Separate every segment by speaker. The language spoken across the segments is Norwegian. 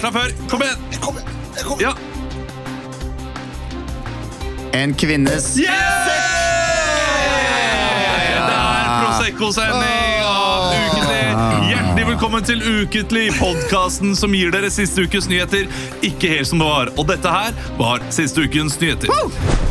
Speaker 1: fra før. Kom igjen!
Speaker 2: Kom igjen! Kom
Speaker 1: Ja.
Speaker 3: En kvinnes
Speaker 1: Det er Prosecco-sending av Ukentlig. Hjertelig velkommen til Ukentlig, podkasten som gir dere siste ukes nyheter. Ikke helt som det var. Og dette her var siste ukens nyheter.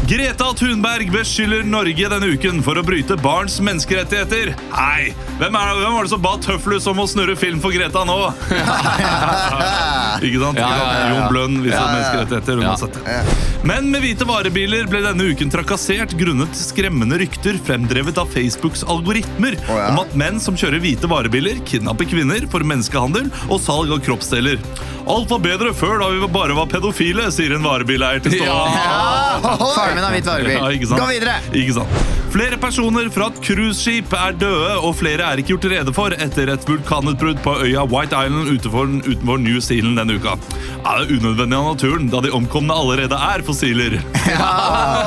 Speaker 1: Greta Thunberg beskylder Norge denne uken for å bryte barns menneskerettigheter. Nei, hvem, er, hvem var det som ba Tøflus om å snurre film for Greta nå? Ikke sant?
Speaker 4: Ja, ja, ja, ja.
Speaker 1: Jon Blønn viser
Speaker 4: Ja, ja, ja.
Speaker 1: menneskerettigheter
Speaker 4: Ja.
Speaker 1: uansett. Men med hvite varebiler ble denne uken trakassert grunnet skremmende rykter fremdrevet av Facebooks algoritmer
Speaker 2: Å, ja.
Speaker 1: om at menn som kjører hvite varebiler, kidnapper kvinner for menneskehandel og salg av kroppsdeler. Alt var bedre før da vi bare var pedofile, sier en varebileier til Ståle.
Speaker 3: Faren min har hvit
Speaker 1: Ja,
Speaker 3: varebil.
Speaker 1: ikke sant?
Speaker 3: Gå videre!
Speaker 1: Ikke sant. Flere personer fra et cruiseskip er døde, og flere er ikke gjort rede for etter et vulkanutbrudd på øya White Island utenfor, utenfor New Zealand denne uka. Ja, det er unødvendig av naturen, da de omkomne allerede er fossiler.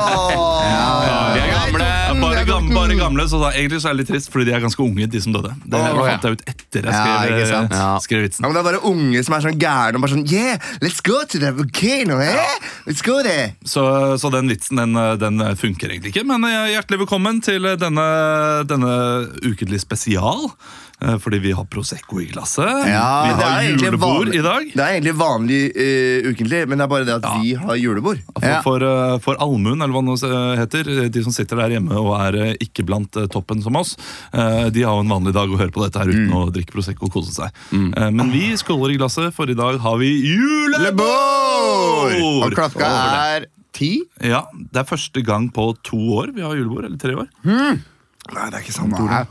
Speaker 4: Vi er gamle.
Speaker 1: Ja, bare,
Speaker 2: det er
Speaker 1: gamle,
Speaker 2: godt.
Speaker 1: bare gamle, så da, Egentlig så er det litt trist, fordi de er ganske unge, de som døde. Det
Speaker 4: Åh, ja.
Speaker 1: fant jeg ut etter jeg
Speaker 3: Ja,
Speaker 1: skrev, eh,
Speaker 3: ikke sant?
Speaker 4: Ja.
Speaker 1: skrev vitsen.
Speaker 2: Ja, men det er bare unge som er sånn gærne og bare sånn Yeah, let's go to the volcano, eh? Let's go there.
Speaker 1: Så, så den vitsen den, eh, den funker egentlig ikke. Men eh, hjertelig velkommen til denne, denne ukentlig spesial. eh, Fordi vi har Prosecco i glasset.
Speaker 3: Ja,
Speaker 1: vi
Speaker 2: Men det er
Speaker 1: har
Speaker 2: egentlig
Speaker 1: julebord
Speaker 2: vanlig-
Speaker 1: i dag.
Speaker 2: Det er egentlig vanlig eh, ukentlig, men det er bare det at vi har julebord.
Speaker 1: For,
Speaker 3: Ja.
Speaker 1: for, eh, for allmuen, eller hva det nå eh, heter, de som sitter der hjemme og er eh, ikke blant eh, toppen som oss, eh, de har jo en vanlig dag å høre på dette her uten å drikke Prosecco og kose seg. Eh, Men vi skåler i glasset, for i dag har vi julebord!
Speaker 3: Og klokka er ti.
Speaker 1: Ja, Det er første gang på to år vi har julebord. Eller tre år.
Speaker 2: Nei, det er ikke sant,
Speaker 3: Nei.
Speaker 2: Ole.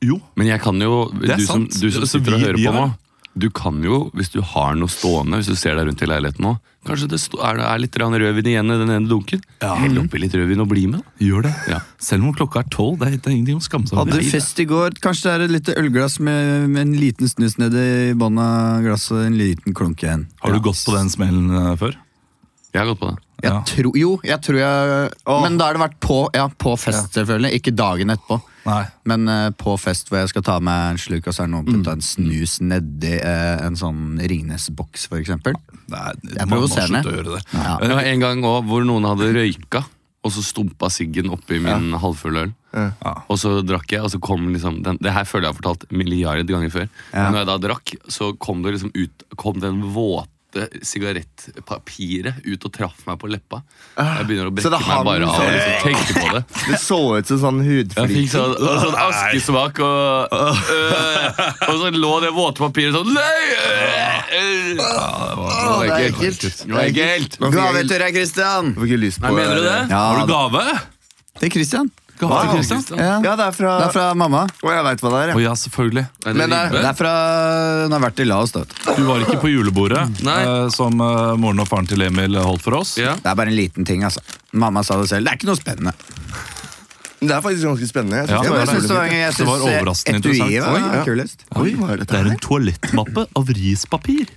Speaker 1: Jo.
Speaker 4: Men jeg kan jo, du
Speaker 1: er
Speaker 4: som,
Speaker 1: sant.
Speaker 4: du som
Speaker 1: Altså,
Speaker 4: sitter og
Speaker 1: vi-
Speaker 4: hører
Speaker 1: vi
Speaker 4: på nå
Speaker 1: har-
Speaker 4: Du kan jo, hvis du har noe stående Hvis du ser deg rundt i leiligheten nå Kanskje det sto- er, det er litt grann rødvin igjen i den ene dunken
Speaker 1: Ja.
Speaker 4: Hell oppi litt rødvin og bli med da.
Speaker 1: Gjør det.
Speaker 4: Ja.
Speaker 1: Selv om klokka er tolv. Det er det er ingenting å skamme seg
Speaker 3: Hadde
Speaker 1: over.
Speaker 3: fest i går. Kanskje det er et lite ølglass med, med en liten snus nedi i bånn av glasset og en liten klunk igjen.
Speaker 1: Har du gått på den smellen eh, før?
Speaker 4: Jeg har gått på det
Speaker 3: Jeg
Speaker 1: Ja.
Speaker 3: tror, jo, jeg tror jeg Men da har det vært på, ja, på fest, selvfølgelig. Ikke dagen etterpå.
Speaker 1: Nei.
Speaker 3: Men eh, på fest hvor jeg skal ta meg en slurk, og så er det noen
Speaker 1: Mm.
Speaker 3: putta en snus nedi eh, en sånn Ringnes-boks, for eksempel.
Speaker 1: Det er,
Speaker 3: er
Speaker 1: man må
Speaker 3: provoserende.
Speaker 1: slutte å gjøre det. Eh,
Speaker 3: Ja.
Speaker 4: Det var en gang også hvor noen hadde røyka Og så stumpa siggen oppi min halvfulle øl Og så drakk jeg, og så kom liksom den, Det her føler jeg har fortalt milliard ganger før.
Speaker 3: Ja.
Speaker 4: Men når jeg da drakk, så kom det liksom ut Kom den våte sigarettpapiret ut og traff meg på leppa. Jeg begynner å
Speaker 2: Så
Speaker 4: brekke
Speaker 2: det
Speaker 4: meg
Speaker 2: hang
Speaker 4: bare av å
Speaker 2: sånn.
Speaker 4: liksom tenke på det.
Speaker 2: Det så ut som sånn
Speaker 4: Jeg fikk
Speaker 2: hudflik.
Speaker 4: sånn, og sånn askesmak, og, øh, og så lå det våte papiret sånn Nei! øh, øh.
Speaker 2: Åh,
Speaker 4: det
Speaker 2: det
Speaker 4: var
Speaker 2: er
Speaker 4: ekkelt.
Speaker 2: ekkelt.
Speaker 4: Det var ekkelt.
Speaker 2: Nå fikk jeg-
Speaker 3: Gavetur her, Christian!
Speaker 2: jeg fikk ikke lyst på
Speaker 4: Nei, mener du det?
Speaker 3: Ja,
Speaker 1: Har du
Speaker 3: da-
Speaker 1: gave?
Speaker 3: til Christian.
Speaker 1: Gave til
Speaker 2: Wow.
Speaker 1: Kristian?
Speaker 4: Christian.
Speaker 3: Ja.
Speaker 2: Ja, det er fra,
Speaker 3: Det er fra mamma.
Speaker 2: Å, jeg veit hva det
Speaker 1: Å
Speaker 2: er, jeg.
Speaker 1: ja, selvfølgelig.
Speaker 4: Er
Speaker 2: Men
Speaker 4: det
Speaker 2: det-
Speaker 3: Det
Speaker 4: ribbe?
Speaker 3: er fra Hun har vært i Laos, da. vet du.
Speaker 1: Du var ikke på julebordet
Speaker 4: Nei.
Speaker 1: eh, som eh, moren og faren til Emil holdt for oss.
Speaker 4: Ja.
Speaker 3: Det er bare en liten ting, altså. Mamma sa det selv. Det er ikke noe spennende.
Speaker 2: Det er faktisk ganske spennende. Jeg
Speaker 1: Ja, det
Speaker 2: synes det,
Speaker 1: var
Speaker 3: Jeg synes det var,
Speaker 2: var
Speaker 3: gøy. jeg
Speaker 1: Det var
Speaker 3: synes, eh,
Speaker 1: overraskende
Speaker 3: etuiet
Speaker 1: interessant.
Speaker 3: var
Speaker 2: Oi, ja.
Speaker 3: kulest.
Speaker 2: Oi, hva er
Speaker 1: Det
Speaker 2: dette
Speaker 1: er en
Speaker 2: her?
Speaker 1: toalettmappe av rispapir.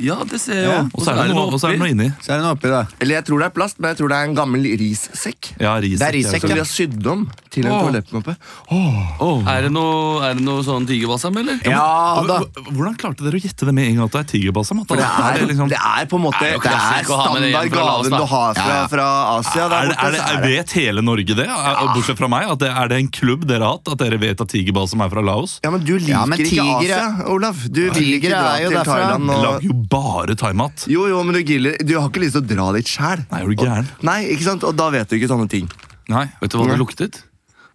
Speaker 4: ja, det ser jeg jo.
Speaker 1: Og så er det noe, og så er det noe inni.
Speaker 3: Så er det noe oppi, da.
Speaker 2: Eller jeg tror det er plast, men jeg tror det er en gammel rissekk.
Speaker 1: Ja, ris.
Speaker 3: Det er rissekk,
Speaker 2: Som
Speaker 3: ja.
Speaker 2: de har sydd om til en
Speaker 4: Åh.
Speaker 2: toalettmappe.
Speaker 1: Åh.
Speaker 4: Er det noe, er det noe sånn tigerbalsam, eller?
Speaker 3: Ja da.
Speaker 1: H- Hvordan klarte dere å gjette det med en gang at det er tigerbalsam? At
Speaker 2: Det
Speaker 1: er,
Speaker 2: er,
Speaker 1: det liksom,
Speaker 2: det er på en måte
Speaker 4: Det er
Speaker 2: Det
Speaker 4: jo
Speaker 2: er,
Speaker 4: klassisk å ha med det hjem
Speaker 2: standard
Speaker 4: fra Laos,
Speaker 2: gaven
Speaker 4: da.
Speaker 2: du har fra, fra Asia. Der
Speaker 1: er det,
Speaker 2: borte,
Speaker 1: er det,
Speaker 2: så er det.
Speaker 1: vet hele Norge det? Er, bortsett fra meg. At det, er det en klubb dere har hatt? At dere vet at tigerbalsam er fra Laos?
Speaker 2: Ja, men du liker
Speaker 3: men
Speaker 2: ikke
Speaker 3: tiger er-
Speaker 2: Asia, Olav. Du vil ikke
Speaker 3: Tiger
Speaker 2: dra
Speaker 3: er jo
Speaker 2: til
Speaker 3: derfra.
Speaker 2: Thailand
Speaker 1: Jeg
Speaker 2: og
Speaker 1: lager jo bare thaimat.
Speaker 2: jo, jo, men du, giller, du har ikke lyst til å dra dit sjæl.
Speaker 1: Nei, er du gæren?
Speaker 2: Nei, ikke sant? Og da vet du ikke sånne ting.
Speaker 1: Nei.
Speaker 4: Vet du hva det
Speaker 2: Nei.
Speaker 4: luktet?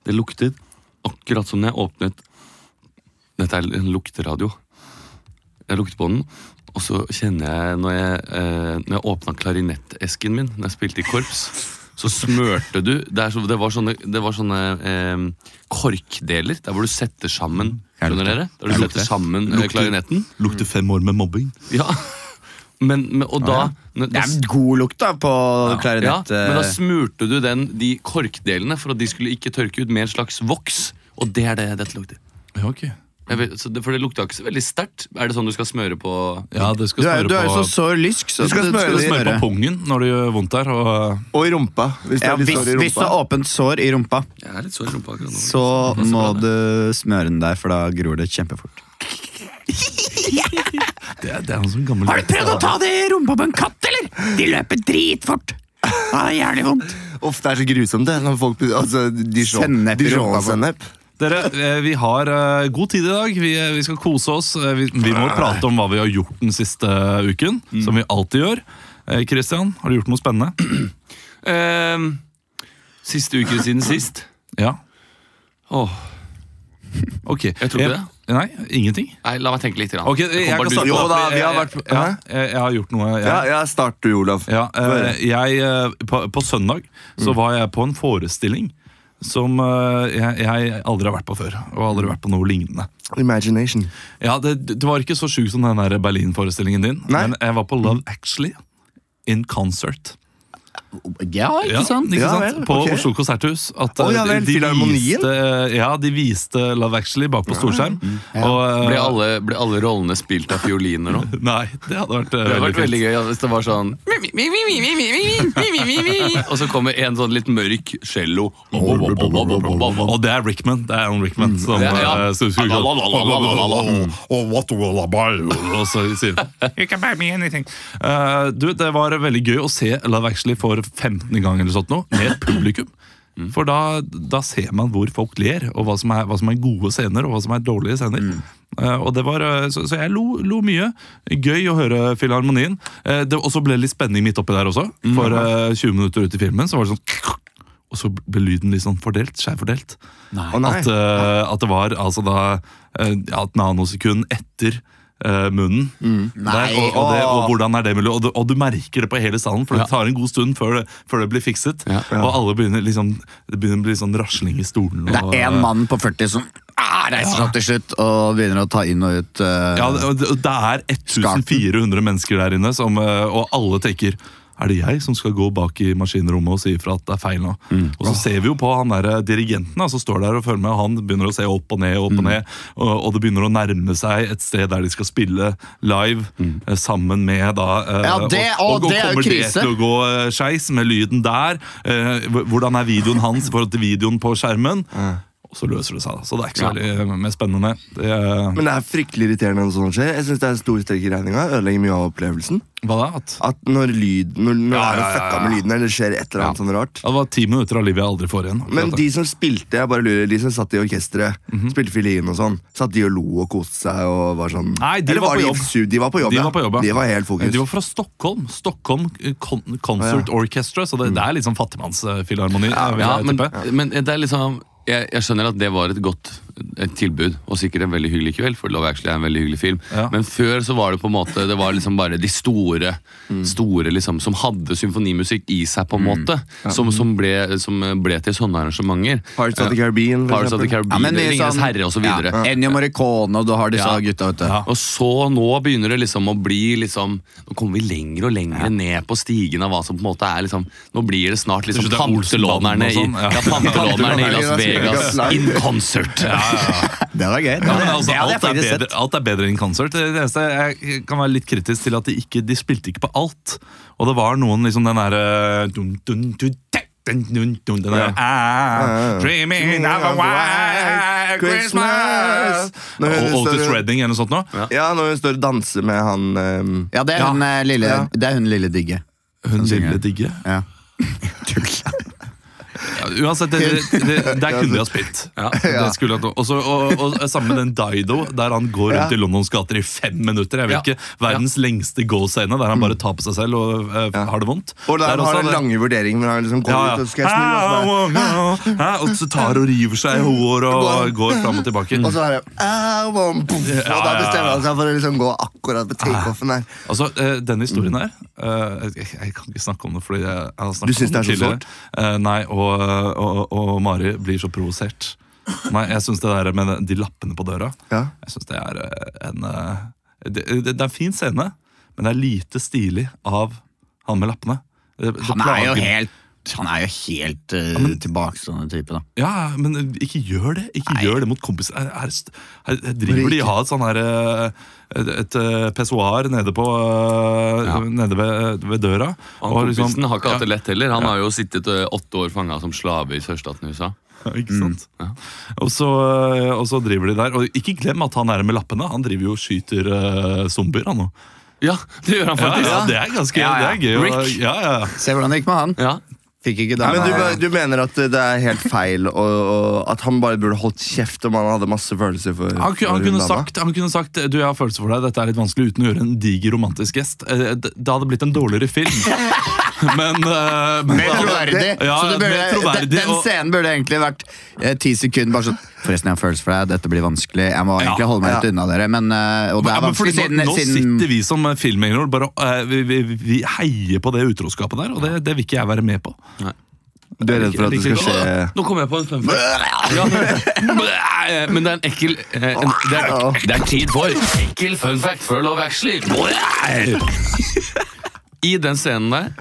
Speaker 4: Det luktet akkurat som når jeg åpnet Dette er en lukteradio. Jeg lukter på den, og så kjenner jeg Når jeg, eh, når jeg åpna klarinettesken min når jeg spilte i korps, så smørte du Det, er så, det var sånne, det var sånne eh, korkdeler, der hvor du setter sammen Skjønner dere? Der du setter sammen eh, klarinetten.
Speaker 1: Lukter fem år med mobbing.
Speaker 4: Ja. Men, men, og da, når-
Speaker 3: Det
Speaker 4: da
Speaker 3: er god lukt da på
Speaker 4: ja,
Speaker 3: klarinett.
Speaker 4: men da
Speaker 2: altså-
Speaker 3: eh,
Speaker 4: smurte du den, de korkdelene for at de skulle ikke tørke ut med en slags voks. Og det er det dette lukter.
Speaker 1: Ja, ok.
Speaker 4: Jeg vet, så det, for det lukta ikke så veldig sterkt. Er det sånn du skal smøre på
Speaker 1: Ja, du skal
Speaker 3: Du er,
Speaker 1: smøre
Speaker 3: du er jo
Speaker 1: på,
Speaker 3: så sår lysk, så
Speaker 2: Du skal
Speaker 3: det-
Speaker 2: smøre
Speaker 3: det
Speaker 2: det i
Speaker 1: smøre på
Speaker 3: gjøre.
Speaker 1: pungen når det gjør vondt der. Og, eh,
Speaker 2: Og i rumpa. Hvis det
Speaker 3: Ja,
Speaker 2: er litt
Speaker 3: hvis,
Speaker 2: sår i
Speaker 3: hvis du har
Speaker 2: rumpa.
Speaker 3: åpent sår i rumpa,
Speaker 4: Jeg er litt sår i rumpa akkurat nå.
Speaker 3: så må du smøre den der, for da gror det kjempefort.
Speaker 1: Det er, det er han som gammel
Speaker 3: Har du sånn? prøvd å ta det i rumpa på en katt, eller? De løper dritfort. Ah, det er jævlig vondt.
Speaker 2: Ofte er det så grusomt, det. Når folk, altså, Dijon-
Speaker 3: Sennep i rumpa på.
Speaker 2: Dijon-sennep.
Speaker 1: Dere, eh, vi har eh, god tid i dag. Vi, eh, vi skal kose oss. Eh, Vi, vi må prate om hva vi har gjort den siste eh, uken, som vi alltid gjør. Eh, Christian, har du gjort noe spennende?
Speaker 4: Ehm, siste uke siden sist.
Speaker 1: Ja.
Speaker 4: Åh,
Speaker 1: Ok.
Speaker 4: Jeg tror ikke
Speaker 1: Eh, Nei, ingenting.
Speaker 4: nei, la meg tenke litt. Grann.
Speaker 1: Ok,
Speaker 4: Det
Speaker 1: jeg, kan
Speaker 4: kom bare
Speaker 1: starte
Speaker 4: du
Speaker 2: Jo
Speaker 1: på at
Speaker 2: da, vi har
Speaker 1: jeg-
Speaker 2: vært-
Speaker 1: ja, jeg, jeg har gjort noe. Jeg,
Speaker 2: Ja, ja, start du, Olav.
Speaker 1: Ja, eh, jeg, eh, på, på søndag
Speaker 2: Mm.
Speaker 1: så var jeg på en forestilling som eh, jeg, jeg aldri har vært på før. Og
Speaker 2: Mm.
Speaker 1: aldri vært på noe lignende.
Speaker 2: Imagination.
Speaker 1: Ja, Det, det var ikke så sjukt som den der Berlin-forestillingen din,
Speaker 2: Nei. Mm.
Speaker 1: men jeg var på Love Actually in concert.
Speaker 3: Ja,
Speaker 1: Ja, ikke
Speaker 2: Ja
Speaker 1: sant?
Speaker 2: vel,
Speaker 1: På
Speaker 2: ok.
Speaker 1: Oslo konserthus. At, eh,
Speaker 2: Å, ja vel, Filharmonien?
Speaker 1: viste, eh, ja, de viste Love Actually bak på
Speaker 2: Ah,
Speaker 1: storskjerm.
Speaker 2: mm.
Speaker 1: Og, eh,
Speaker 4: Ble alle, ble alle rollene spilt av fioliner nå?
Speaker 1: Nei, det hadde vært, eh,
Speaker 4: Det hadde
Speaker 1: veldig
Speaker 4: vært veldig
Speaker 1: fint.
Speaker 4: gøy ja, hvis det var sånn Og så kommer en sånn litt mørk cello.
Speaker 1: Og det er Rickman. Det er Alan Rickman som
Speaker 4: Ja, ja.
Speaker 1: eh, som skulle gå- Og så sier han, You can buy me anything. Eh, du, det var veldig gøy å se Love Actually for 15. gang eller sånt nå, med et publikum. For da, da ser man hvor folk ler, og hva som, er, hva som er gode scener og hva som er dårlige scener. Eh, og det var, eh, så, så jeg lo, lo mye. Gøy å høre Filharmonien. Eh, det- og så ble det litt spenning midt oppi der også. For eh, 20 minutter ut i filmen så var det sånn Og så ble lyden litt sånn fordelt, skjevfordelt.
Speaker 2: Å nei.
Speaker 1: At, eh, at det var altså da eh, ja, et nanosekund etter eh, munnen. Der, og, og, det, og hvordan er det mulig? Og du, og du merker det på hele salen, for det tar en god stund før det, før det blir fikset.
Speaker 4: Ja.
Speaker 1: Og alle begynner liksom, det begynner å bli sånn rasling i stolen. Og,
Speaker 3: Det er én mann på 40 som ah, reiser seg opp til slutt og begynner å ta inn og ut. eh,
Speaker 1: Ja, det, og det er 1400 mennesker der inne, som, eh, og alle tenker er det jeg som skal gå bak i maskinrommet og si ifra at det er feil nå?
Speaker 3: Mm.
Speaker 1: Og så ser vi jo på han der, eh, dirigenten da, som står der og følger med, og han begynner å se opp og ned, opp
Speaker 3: Mm.
Speaker 1: og ned, og, og det begynner å nærme seg et sted der de skal spille live eh, sammen med da eh,
Speaker 3: Mm. Ja, det-
Speaker 1: og, og,
Speaker 3: å, det er jo
Speaker 1: kommer det
Speaker 3: krise.
Speaker 1: til å gå eh, skeis med lyden der? Eh, hv- hvordan er videoen hans i forhold til videoen på skjermen? Og så løser det seg, da. Så det er ikke så veldig eh, mer spennende. Det, er-
Speaker 2: Men det er fryktelig irriterende når sånt skjer. Jeg synes det er en stor strekk i regninga. Ødelegger mye av opplevelsen.
Speaker 1: hva da? At
Speaker 2: At når lyd Når, når
Speaker 1: Ja, ja,
Speaker 2: det er noe
Speaker 1: ja,
Speaker 2: fucka med lyden, eller det skjer et eller annet sånn rart.
Speaker 1: Ja, det var ti minutter av livet jeg aldri får igjen.
Speaker 2: Men
Speaker 1: akkurat
Speaker 2: de
Speaker 1: da.
Speaker 2: som spilte, jeg bare lurer, de som satt i orkesteret,
Speaker 1: Mhm.
Speaker 2: spilte fiolin og sånn, satt de og lo og koste seg og var sånn
Speaker 1: Nei, de
Speaker 2: Eller
Speaker 1: var på jobb.
Speaker 2: su- De var på jobb,
Speaker 1: de
Speaker 2: ja.
Speaker 1: var på jobb, ja.
Speaker 2: De var helt fokus.
Speaker 1: De var fra Stockholm. Stockholm Con Concert
Speaker 2: Ja.
Speaker 1: Orchestra. Så det, det er litt sånn fattigmannsfilharmoni. vil
Speaker 4: Ja,
Speaker 1: jeg
Speaker 4: men,
Speaker 1: tippe.
Speaker 4: men det er liksom jeg, jeg skjønner at det var et godt et tilbud, og sikkert en veldig hyggelig kveld. For Love Actually er en veldig hyggelig film
Speaker 1: Ja.
Speaker 4: Men før så var det på en måte Det var liksom bare de store
Speaker 1: Mm.
Speaker 4: Store liksom som hadde symfonimusikk i seg, på en måte. Som, som, ble, som ble til sånne arrangementer. Eh,
Speaker 2: Pirates of the Caribbean, for
Speaker 4: Pirates of the
Speaker 2: eksempel.
Speaker 3: Ja,
Speaker 4: Caribbean
Speaker 3: mye
Speaker 4: Ringenes
Speaker 3: sånn-
Speaker 4: herre og så videre
Speaker 3: Ja, Ennio Morricone, og du har disse
Speaker 4: Ja.
Speaker 3: gutta, vet du.
Speaker 1: Ja.
Speaker 4: Og så nå begynner det liksom å bli liksom Nå kommer vi lenger og lenger ned på stigen av hva som på en måte er liksom Nå blir det snart liksom
Speaker 1: Det er ikke det
Speaker 4: pantelånerne
Speaker 1: Olsenbanden og
Speaker 4: i,
Speaker 1: sånn, ja.
Speaker 4: ja, pantelånerne
Speaker 2: Pantelånerne
Speaker 4: i Las
Speaker 2: i Las
Speaker 4: Vegas
Speaker 2: Vegas
Speaker 4: in concert!
Speaker 3: Det var gøy.
Speaker 1: Ja, men altså, alt, er
Speaker 3: faktisk
Speaker 1: bedre, alt er bedre enn konsert. Det eneste jeg kan være litt kritisk til at de ikke de spilte ikke på alt. Og det var noen liksom den derre dun, dun, dun, te, dun, dun, dun, Den derre ah, Dreaming of a white Christmas
Speaker 2: Nå høres
Speaker 1: Og Otis
Speaker 2: det-
Speaker 1: Redding eller noe sånt noe.
Speaker 2: Ja, når hun står og danser med han ehm,
Speaker 3: Ja, det er hun eh, lille,
Speaker 2: Ja.
Speaker 3: det er hun lille digge.
Speaker 1: Hun
Speaker 3: synger.
Speaker 1: ville digge.
Speaker 3: Ja.
Speaker 1: Ja, Uansett, det, det, det, der kunne de ha spilt. Det skulle jeg tro. Også, og, og, og sammen med den Dido, der han går rundt
Speaker 2: Ja.
Speaker 1: i Londons gater i fem minutter. Jeg vet
Speaker 4: Ja.
Speaker 1: ikke, Verdens lengste gå-scene, der han bare tar på seg selv og eh, har det vondt.
Speaker 2: Mm. Og der
Speaker 1: Det er
Speaker 2: har
Speaker 1: også
Speaker 2: den
Speaker 1: det-
Speaker 2: lange altså. vurderingen hvor han liksom går
Speaker 1: ja,
Speaker 2: ut
Speaker 1: ja.
Speaker 2: og skal jeg snu, og så
Speaker 1: Ah,
Speaker 2: bare
Speaker 1: wow, wow. Ah, Og så tar og river seg i håret og går fram og tilbake.
Speaker 2: Mm. Og så er det ah, bom, puff,
Speaker 1: Ja,
Speaker 2: Og
Speaker 1: ja,
Speaker 2: da
Speaker 1: Ah. ja.
Speaker 2: bestemmer han seg for å liksom gå akkurat på takeoffen der.
Speaker 1: Altså, eh, Denne historien her eh, jeg, jeg kan ikke snakke om det, fordi jeg, jeg har
Speaker 2: Mm. Du
Speaker 1: snakket
Speaker 2: synes
Speaker 1: om
Speaker 2: det er så
Speaker 1: tidligere. Eh, nei, og, og, og Mari blir så provosert. Nei, jeg syns det der med de lappene på døra
Speaker 2: Ja.
Speaker 1: Jeg synes det er eh, en eh, det, det, det er en fin scene, men det er lite stilig av han med lappene. Det, det
Speaker 3: Han er jo
Speaker 1: plager-
Speaker 3: helt Han er jo helt eh, tilbakestående type, da.
Speaker 1: Ja, men eh, ikke gjør det. Ikke gjør det mot kompiser. Her, her, st- her, her driver
Speaker 2: Men
Speaker 1: de
Speaker 2: ikke-
Speaker 1: ha et sånn her eh, Et, et eh, pessoar nede på eh,
Speaker 4: Ja.
Speaker 1: Nede ved, ved døra.
Speaker 4: Han kompisen har ikke hatt det
Speaker 1: liksom- ja,
Speaker 4: lett heller. Han har jo sittet ø, åtte år fanga som slave i sørstaten i USA.
Speaker 1: Ikke sant?
Speaker 4: Mm. Ja.
Speaker 1: Og, så, eh, og så driver de der. Og ikke glem at han er med lappene. Han driver jo og skyter eh, zombier, han òg.
Speaker 4: Ja, det gjør han
Speaker 1: Ja,
Speaker 4: faktisk.
Speaker 1: ja, det er ganske
Speaker 4: Ja, ja.
Speaker 1: Det er gøy. å-
Speaker 4: Rick.
Speaker 1: Ja, ja.
Speaker 3: Se hvordan det gikk med han.
Speaker 4: Ja.
Speaker 3: Fikk ikke
Speaker 2: Men
Speaker 3: dama.
Speaker 2: du, du mener at det er helt feil, og, og at han bare burde holdt kjeft om han hadde masse følelser for
Speaker 1: Han, ku- han,
Speaker 2: for
Speaker 1: kunne
Speaker 2: dama?
Speaker 1: sagt, han kunne sagt Du, jeg har følelser for deg, dette er litt vanskelig uten å gjøre en diger romantisk gest. Eh, Det det hadde blitt en dårligere film. Men, eh, men
Speaker 3: Mer troverdig.
Speaker 1: Ja,
Speaker 3: Så det burde-
Speaker 1: mer troverdig,
Speaker 3: den, den
Speaker 1: og-
Speaker 3: scenen burde egentlig vært eh, ti sekunder bare sånn Forresten, jeg har følelser for deg, dette blir vanskelig. Jeg må egentlig holde meg litt unna dere. Men, eh, og det
Speaker 1: Ja,
Speaker 3: er
Speaker 1: men fordi
Speaker 3: vanskelig siden,
Speaker 1: nå, nå
Speaker 3: siden
Speaker 1: sitter vi som filmengler bare eh, vi, vi, vi heier på det utroskapet der, og det, det vil ikke jeg være med på.
Speaker 2: Du er redd for at det skal skje
Speaker 4: Nå kom jeg på en fun fact. Ja. Men det er en ekkel eh, en, det, er, det er tid for ekkel fun fact før Love Actually. I den scenen der,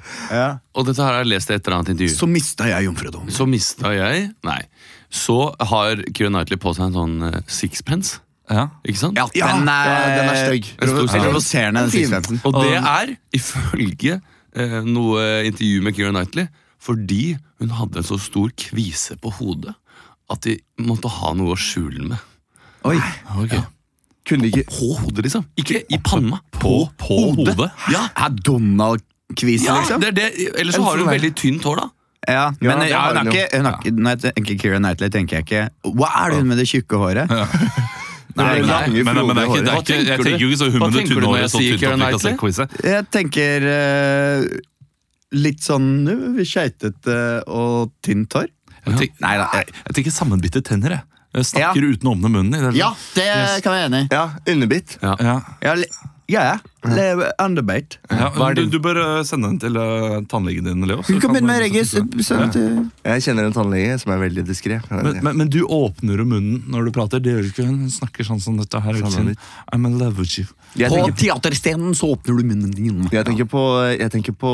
Speaker 4: og dette her har jeg lest i et eller annet intervju
Speaker 3: Så mista jeg jomfrudommen.
Speaker 4: Så mista jeg Nei. Så har Keira Knightley på seg en sånn eh, sixpence.
Speaker 1: Ja.
Speaker 4: Ikke sant?
Speaker 2: Ja,
Speaker 3: den er,
Speaker 2: ja, den er stygg.
Speaker 4: En stor
Speaker 3: Provo-
Speaker 4: stygg.
Speaker 3: Provoserende, den
Speaker 2: Fin.
Speaker 3: sixpensen.
Speaker 4: Og det er ifølge eh, noe intervju med Keira Knightley fordi hun hadde en så stor kvise på hodet at de måtte ha noe å skjule den med.
Speaker 2: Oi, kunne de ikke
Speaker 4: På hodet, liksom. Ikke i panna.
Speaker 1: På, på hodet?
Speaker 4: Ja,
Speaker 3: Er Donald-kvise,
Speaker 4: ja
Speaker 3: liksom?
Speaker 4: det er det. Ellers så
Speaker 2: En
Speaker 4: har hun
Speaker 2: sånn der.
Speaker 4: veldig tynt hår, da.
Speaker 3: Ja, men
Speaker 2: Ja, det
Speaker 3: ja,
Speaker 2: har
Speaker 3: hun er
Speaker 2: hun jo.
Speaker 3: ikke, hun er ikke Når jeg tenker Keira Knightley, tenker jeg ikke Hva er det hun med det tjukke håret?
Speaker 2: Nei,
Speaker 1: Men,
Speaker 2: lange,
Speaker 1: men, men det er ikke, det
Speaker 4: Hva
Speaker 1: er ikke, jeg
Speaker 4: tenker du?
Speaker 1: tenker jo ikke så
Speaker 4: Hva
Speaker 1: hummende
Speaker 4: tenker du når
Speaker 1: tunnhåret
Speaker 4: jeg
Speaker 1: og så
Speaker 4: sier
Speaker 1: tynt at vi
Speaker 4: Keira
Speaker 1: kan se
Speaker 4: Knightley?
Speaker 1: quizet.
Speaker 3: Jeg tenker eh, litt sånn eh, Skeitete og tynt hår.
Speaker 1: Jeg tenker-
Speaker 3: Nei da.
Speaker 1: Nei, jeg tenker sammenbitte tenner, jeg. jeg snakker uten åpne munnen. i det.
Speaker 3: Ja, det kan jeg være enig i.
Speaker 2: Ja, underbitt.
Speaker 1: Ja.
Speaker 3: Ja, li- ja. ja. Le- Underbeit.
Speaker 1: Ja,
Speaker 3: Hva er
Speaker 1: du,
Speaker 3: din?
Speaker 1: du bør eh, sende den til eh, tannlegen din, Leo. så
Speaker 3: Du kan
Speaker 1: kan-
Speaker 3: begynne med Regis.
Speaker 1: så-
Speaker 3: Send til
Speaker 2: Jeg kjenner en tannlege som er veldig diskré.
Speaker 1: Men, men, men du åpner jo munnen når du prater. Det gjør du ikke. Hun snakker sånn som dette her. hele tiden. I'm in love with you.
Speaker 2: Jeg
Speaker 3: På
Speaker 2: tenker
Speaker 3: teaterstenen så åpner du munnen din.
Speaker 2: Jeg tenker på, jeg tenker på,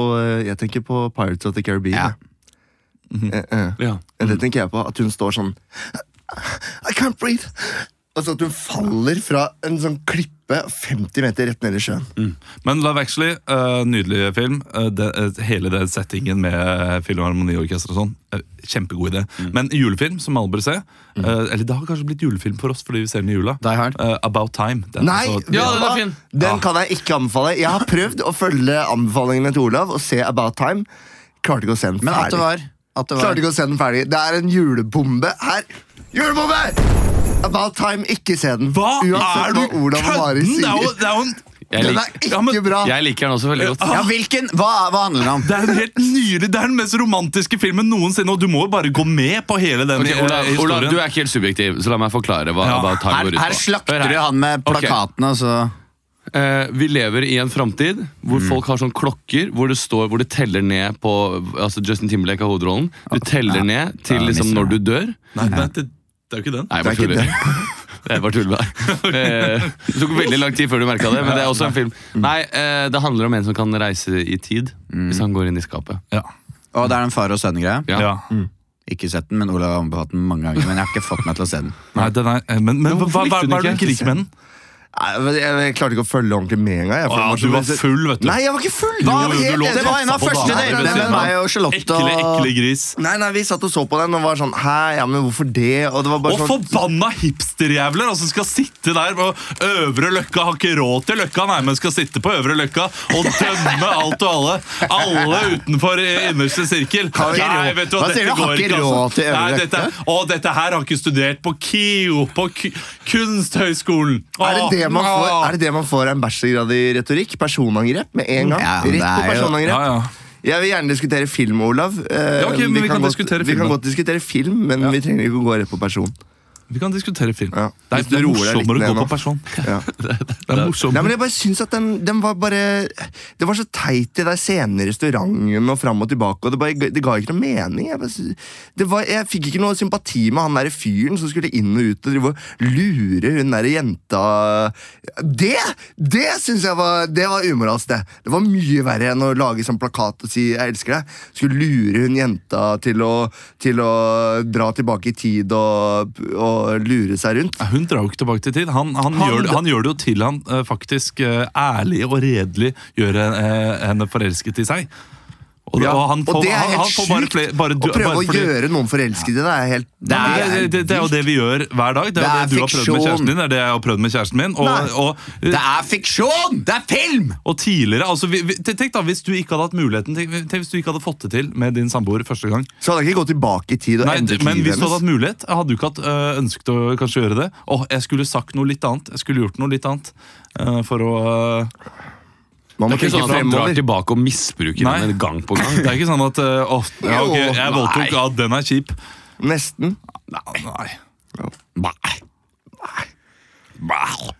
Speaker 2: jeg tenker på Pirates of the Caribbean.
Speaker 3: Ja.
Speaker 2: jeg. Eh, eh.
Speaker 4: Ja.
Speaker 2: Det tenker jeg på. At hun står sånn I can't breathe. Altså at hun faller fra en sånn klippe 50 meter rett ned i sjøen.
Speaker 1: Men Love Actually, eh, nydelig film. Eh, det, eh, hele den settingen med Filharmoniorkester og sånn, eh, kjempegod idé. Men julefilm, som alle bør se eh, Eller det har kanskje blitt julefilm for oss fordi vi ser den i jula.
Speaker 3: Die Hard.
Speaker 1: Eh, About Time. Den er
Speaker 2: Nei!
Speaker 1: så-
Speaker 2: vet du
Speaker 4: Ja, den er
Speaker 2: hva?
Speaker 4: fin.
Speaker 2: Den kan jeg ikke anbefale. Jeg har prøvd å følge anbefalingene til Olav og se About Time. Klarte ikke å se den
Speaker 3: Men at det
Speaker 2: ferdig.
Speaker 3: var, at det
Speaker 2: Klarte
Speaker 3: var.
Speaker 2: ikke å se den ferdig. Det er en julebombe her. Julebombe! About Time, ikke se den.
Speaker 1: hva er
Speaker 2: Uansett
Speaker 1: du
Speaker 2: hva Olav og Mari
Speaker 1: kødden?! Det er jo,
Speaker 2: sier.
Speaker 1: det er jo en
Speaker 4: Jeg,
Speaker 2: Den
Speaker 4: lik,
Speaker 2: er
Speaker 1: Ja, men-
Speaker 2: ikke bra.
Speaker 4: jeg liker den også veldig godt.
Speaker 3: Ja, hvilken? Hva, hva handler det om?
Speaker 1: det er en helt nydelig, det er den mest romantiske filmen noensinne, og du må jo bare gå med på hele den
Speaker 4: Ok,
Speaker 1: eh,
Speaker 4: Olav,
Speaker 1: historien.
Speaker 4: Olav, du er ikke helt subjektiv, så la meg forklare hva
Speaker 1: Ja.
Speaker 4: About Time
Speaker 3: Her,
Speaker 4: går ut på.
Speaker 3: her slakter du
Speaker 4: Hør her.
Speaker 3: han med
Speaker 4: Ok.
Speaker 3: plakatene, og så
Speaker 4: Eh, vi lever i en framtid hvor
Speaker 3: Mm.
Speaker 4: folk har sånn klokker hvor det, står, hvor det teller ned på altså Justin Timberlake har hovedrollen. Du teller ned til
Speaker 3: Ah, Ja,
Speaker 4: liksom,
Speaker 3: mister
Speaker 4: når du
Speaker 3: det.
Speaker 4: dør.
Speaker 1: Nei, nei, det, det er jo ikke den.
Speaker 4: Nei, jeg bare
Speaker 2: Det er ikke
Speaker 4: tuller. Jeg bare tuller med deg. Eh, Det tok veldig lang tid før du merka det, men det er også en film.
Speaker 3: Mm.
Speaker 4: Nei, eh, Det handler om en som kan reise i tid, hvis han går inn i skapet.
Speaker 1: Ja. Mm.
Speaker 3: Og det er en far og sønn-greie.
Speaker 4: Ja.
Speaker 1: Ja.
Speaker 3: Ikke sett den, men Olav har anbefalt den mange ganger. Men jeg har ikke fått meg til å se den.
Speaker 1: Nei, den er, men, men, hva, hva, hva
Speaker 4: hvorfor likte du
Speaker 1: er det du
Speaker 4: ikke?
Speaker 1: ikke liker med den?
Speaker 2: Nei, men jeg, jeg klarte ikke å følge ordentlig med en gang. Jeg, for
Speaker 1: Å,
Speaker 2: det
Speaker 1: du
Speaker 2: så-
Speaker 1: var full, vet du.
Speaker 2: Nei, jeg var ikke full!
Speaker 1: Jo,
Speaker 2: Jeg var
Speaker 1: jo, du
Speaker 2: helt
Speaker 1: lå
Speaker 2: enig.
Speaker 1: og
Speaker 3: Det var en av
Speaker 1: På
Speaker 3: første
Speaker 1: damer ved
Speaker 3: datene
Speaker 1: siden
Speaker 3: med
Speaker 1: av.
Speaker 3: meg og Charlotte.
Speaker 1: Ekle, ekle
Speaker 3: Og...
Speaker 1: gris.
Speaker 2: Nei, nei, vi satt og så på den og var sånn Hæ, ja, men hvorfor det? Og det var bare
Speaker 1: Og
Speaker 2: sånn
Speaker 1: forbanna hipsterjævler altså, skal sitte der på Øvre Løkka. Har ikke råd til Løkka, nei, men skal sitte på Øvre Løkka og dømme alt og alle. Alle utenfor i innerste sirkel.
Speaker 3: Har ikke råd- Hva sier du?
Speaker 1: dette
Speaker 3: Har
Speaker 1: går altså.
Speaker 3: ikke råd til Øvre
Speaker 1: Nei, dette, å, dette her har ikke studert på KIO, på ku- Kunsthøgskolen. Å,
Speaker 2: er det, det man får,
Speaker 1: å.
Speaker 2: er det det man får av en bachelorgrad i retorikk? Personangrep med en gang.
Speaker 3: Ja, det
Speaker 2: Rett på
Speaker 3: er jo-
Speaker 2: personangrep.
Speaker 1: Ja, ja.
Speaker 2: Jeg vil gjerne diskutere film, Olav. Eh,
Speaker 1: Ja, ok, men vi kan
Speaker 2: godt,
Speaker 1: diskutere
Speaker 2: vi
Speaker 1: film,
Speaker 2: kan
Speaker 1: da.
Speaker 2: godt diskutere film, men vi trenger ikke å gå rett på person.
Speaker 1: Vi kan diskutere film.
Speaker 2: Ja.
Speaker 1: Det
Speaker 2: Hvis
Speaker 1: er,
Speaker 2: du
Speaker 1: det er
Speaker 2: roer deg litt
Speaker 1: morsommere å
Speaker 2: ned
Speaker 1: gå
Speaker 2: nå.
Speaker 1: på person.
Speaker 2: Ja.
Speaker 1: Det er morsommere.
Speaker 2: Nei, men jeg bare syns at den, den var bare Det var så teit i de scenene i restauranten og fram og tilbake, og det, bare, det ga ikke noe mening. Jeg, bare, sy- det var, jeg fikk ikke noe sympati med han derre fyren som skulle inn og ut og drive og lure hun derre jenta Det! Det syns jeg var Det var umoralsk, det. Det var mye verre enn å lage sånn plakat og si 'jeg elsker deg'. Skulle lure hun jenta til å, til å dra tilbake i tid og, og lure seg rundt.
Speaker 1: Nei, Hun drar jo ikke tilbake til tid. Han, han,
Speaker 2: Han-
Speaker 1: gjør, det- han gjør det jo til han eh, faktisk eh, ærlig og redelig gjør eh, henne forelsket i seg. Og,
Speaker 2: Ja,
Speaker 1: og, han får,
Speaker 2: det er
Speaker 1: han,
Speaker 2: helt
Speaker 1: han får bare
Speaker 2: sjukt.
Speaker 1: flere, bare du,
Speaker 2: å prøve
Speaker 1: bare fordi-
Speaker 2: å gjøre noen forelsket i deg er helt
Speaker 1: det er, det, det, det er jo det vi gjør hver dag. Det er,
Speaker 3: Det
Speaker 1: jo det du har prøvd med
Speaker 3: er fiksjon.
Speaker 1: kjæresten din. Det er det jeg har prøvd med kjæresten min.
Speaker 2: Nei.
Speaker 1: Og, og,
Speaker 3: Det er fiksjon! Det er film!
Speaker 1: og tidligere, altså vi, vi, Tenk da, hvis du ikke hadde hatt muligheten Tenk, tenk hvis du ikke hadde fått det til med din samboer første gang.
Speaker 2: Så hadde jeg ikke gått tilbake i tid og
Speaker 1: Nei,
Speaker 2: endret
Speaker 1: men
Speaker 2: livet
Speaker 1: hvis du hadde hatt
Speaker 2: hennes.
Speaker 1: mulighet, jeg hadde du ikke hatt øh, ønsket å kanskje gjøre det. Åh, jeg skulle sagt noe litt annet. Jeg skulle gjort noe litt annet øh, for å øh,
Speaker 2: Man må
Speaker 4: Det er ikke
Speaker 2: tenke
Speaker 4: sånn at han drar
Speaker 2: fremover.
Speaker 4: tilbake og misbruker
Speaker 1: Nei.
Speaker 4: henne gang på gang.
Speaker 1: Det er ikke sånn at øh, åh, ja, ok, jeg voldtok, ja, den er kjip.
Speaker 2: Nesten.
Speaker 1: Nei.
Speaker 4: Nei.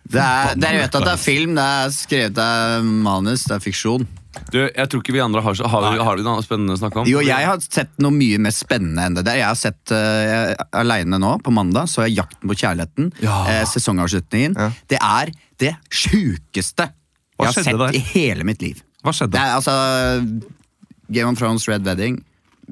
Speaker 3: Det er, dere vet at det er film, det er skrevet det er manus, det er fiksjon.
Speaker 4: Du, jeg tror ikke vi andre har, så- har, vi- har vi noe spennende å snakke om.
Speaker 3: Jo, jeg har sett noe mye mer spennende enn det der. Jeg har sett uh, Aleine nå, på mandag, så jeg Jakten på kjærligheten.
Speaker 1: Ja.
Speaker 3: eh, sesongavslutningen. Det er det sjukeste jeg har
Speaker 1: skjedde
Speaker 3: sett
Speaker 1: der?
Speaker 3: i hele mitt liv.
Speaker 1: Hva skjedde?
Speaker 3: Det er altså Game of Thrones, Red Wedding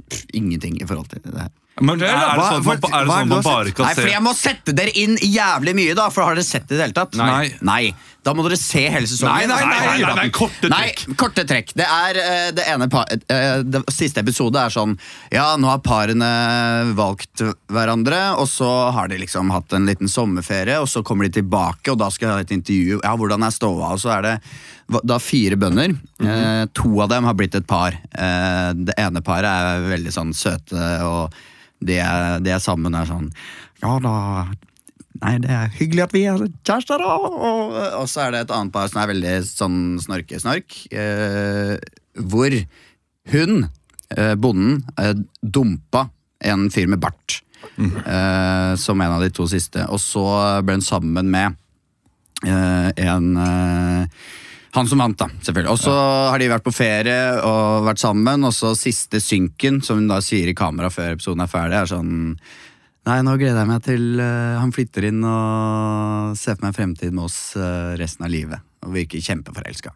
Speaker 3: pff, Ingenting i forhold til det her.
Speaker 1: Men er det
Speaker 2: Hva-
Speaker 1: sånn at man,
Speaker 2: hva-
Speaker 1: ba- er det
Speaker 2: hva
Speaker 1: sånn at
Speaker 2: er det
Speaker 1: man
Speaker 2: du har
Speaker 1: bare
Speaker 3: Nei,
Speaker 1: kan se
Speaker 3: for jeg må sette dere inn jævlig mye, da! For har dere sett det i det hele tatt?
Speaker 1: Nei.
Speaker 3: Nei. Da må dere se hele
Speaker 1: Nei,
Speaker 3: sesongen.
Speaker 1: nei, nei, nei, nei, nei, korte trekk.
Speaker 3: Nei, korte trekk. Det er eh, det ene par, eh, det Siste episode er sånn Ja, nå har parene valgt hverandre, og så har de liksom hatt en liten sommerferie, og så kommer de tilbake, og da skal jeg ha et intervju. Ja, hvordan er ståa? Og så er det hva- da fire bønder.
Speaker 1: Mhm.
Speaker 3: eh, to av dem har blitt et par. Eh, det ene paret er veldig sånn søte, og de er, de er sammen er sånn Ja da Nei, det er hyggelig at vi er kjærester, da. Og, eh, og så er det et annet par som er veldig sånn snorkesnork. Eh, hvor hun, eh, bonden, eh, dumpa en fyr med bart. Eh, som en av de to siste. Og så ble hun sammen med eh, en eh, han som vant, da, selvfølgelig. Og så har de vært på ferie og vært sammen, og så siste synken, som hun da sier i kamera før episoden er ferdig, er sånn Nei, nå gleder jeg meg til eh, han flytter inn og ser for meg fremtid med oss eh, resten av livet. Og virker kjempeforelska.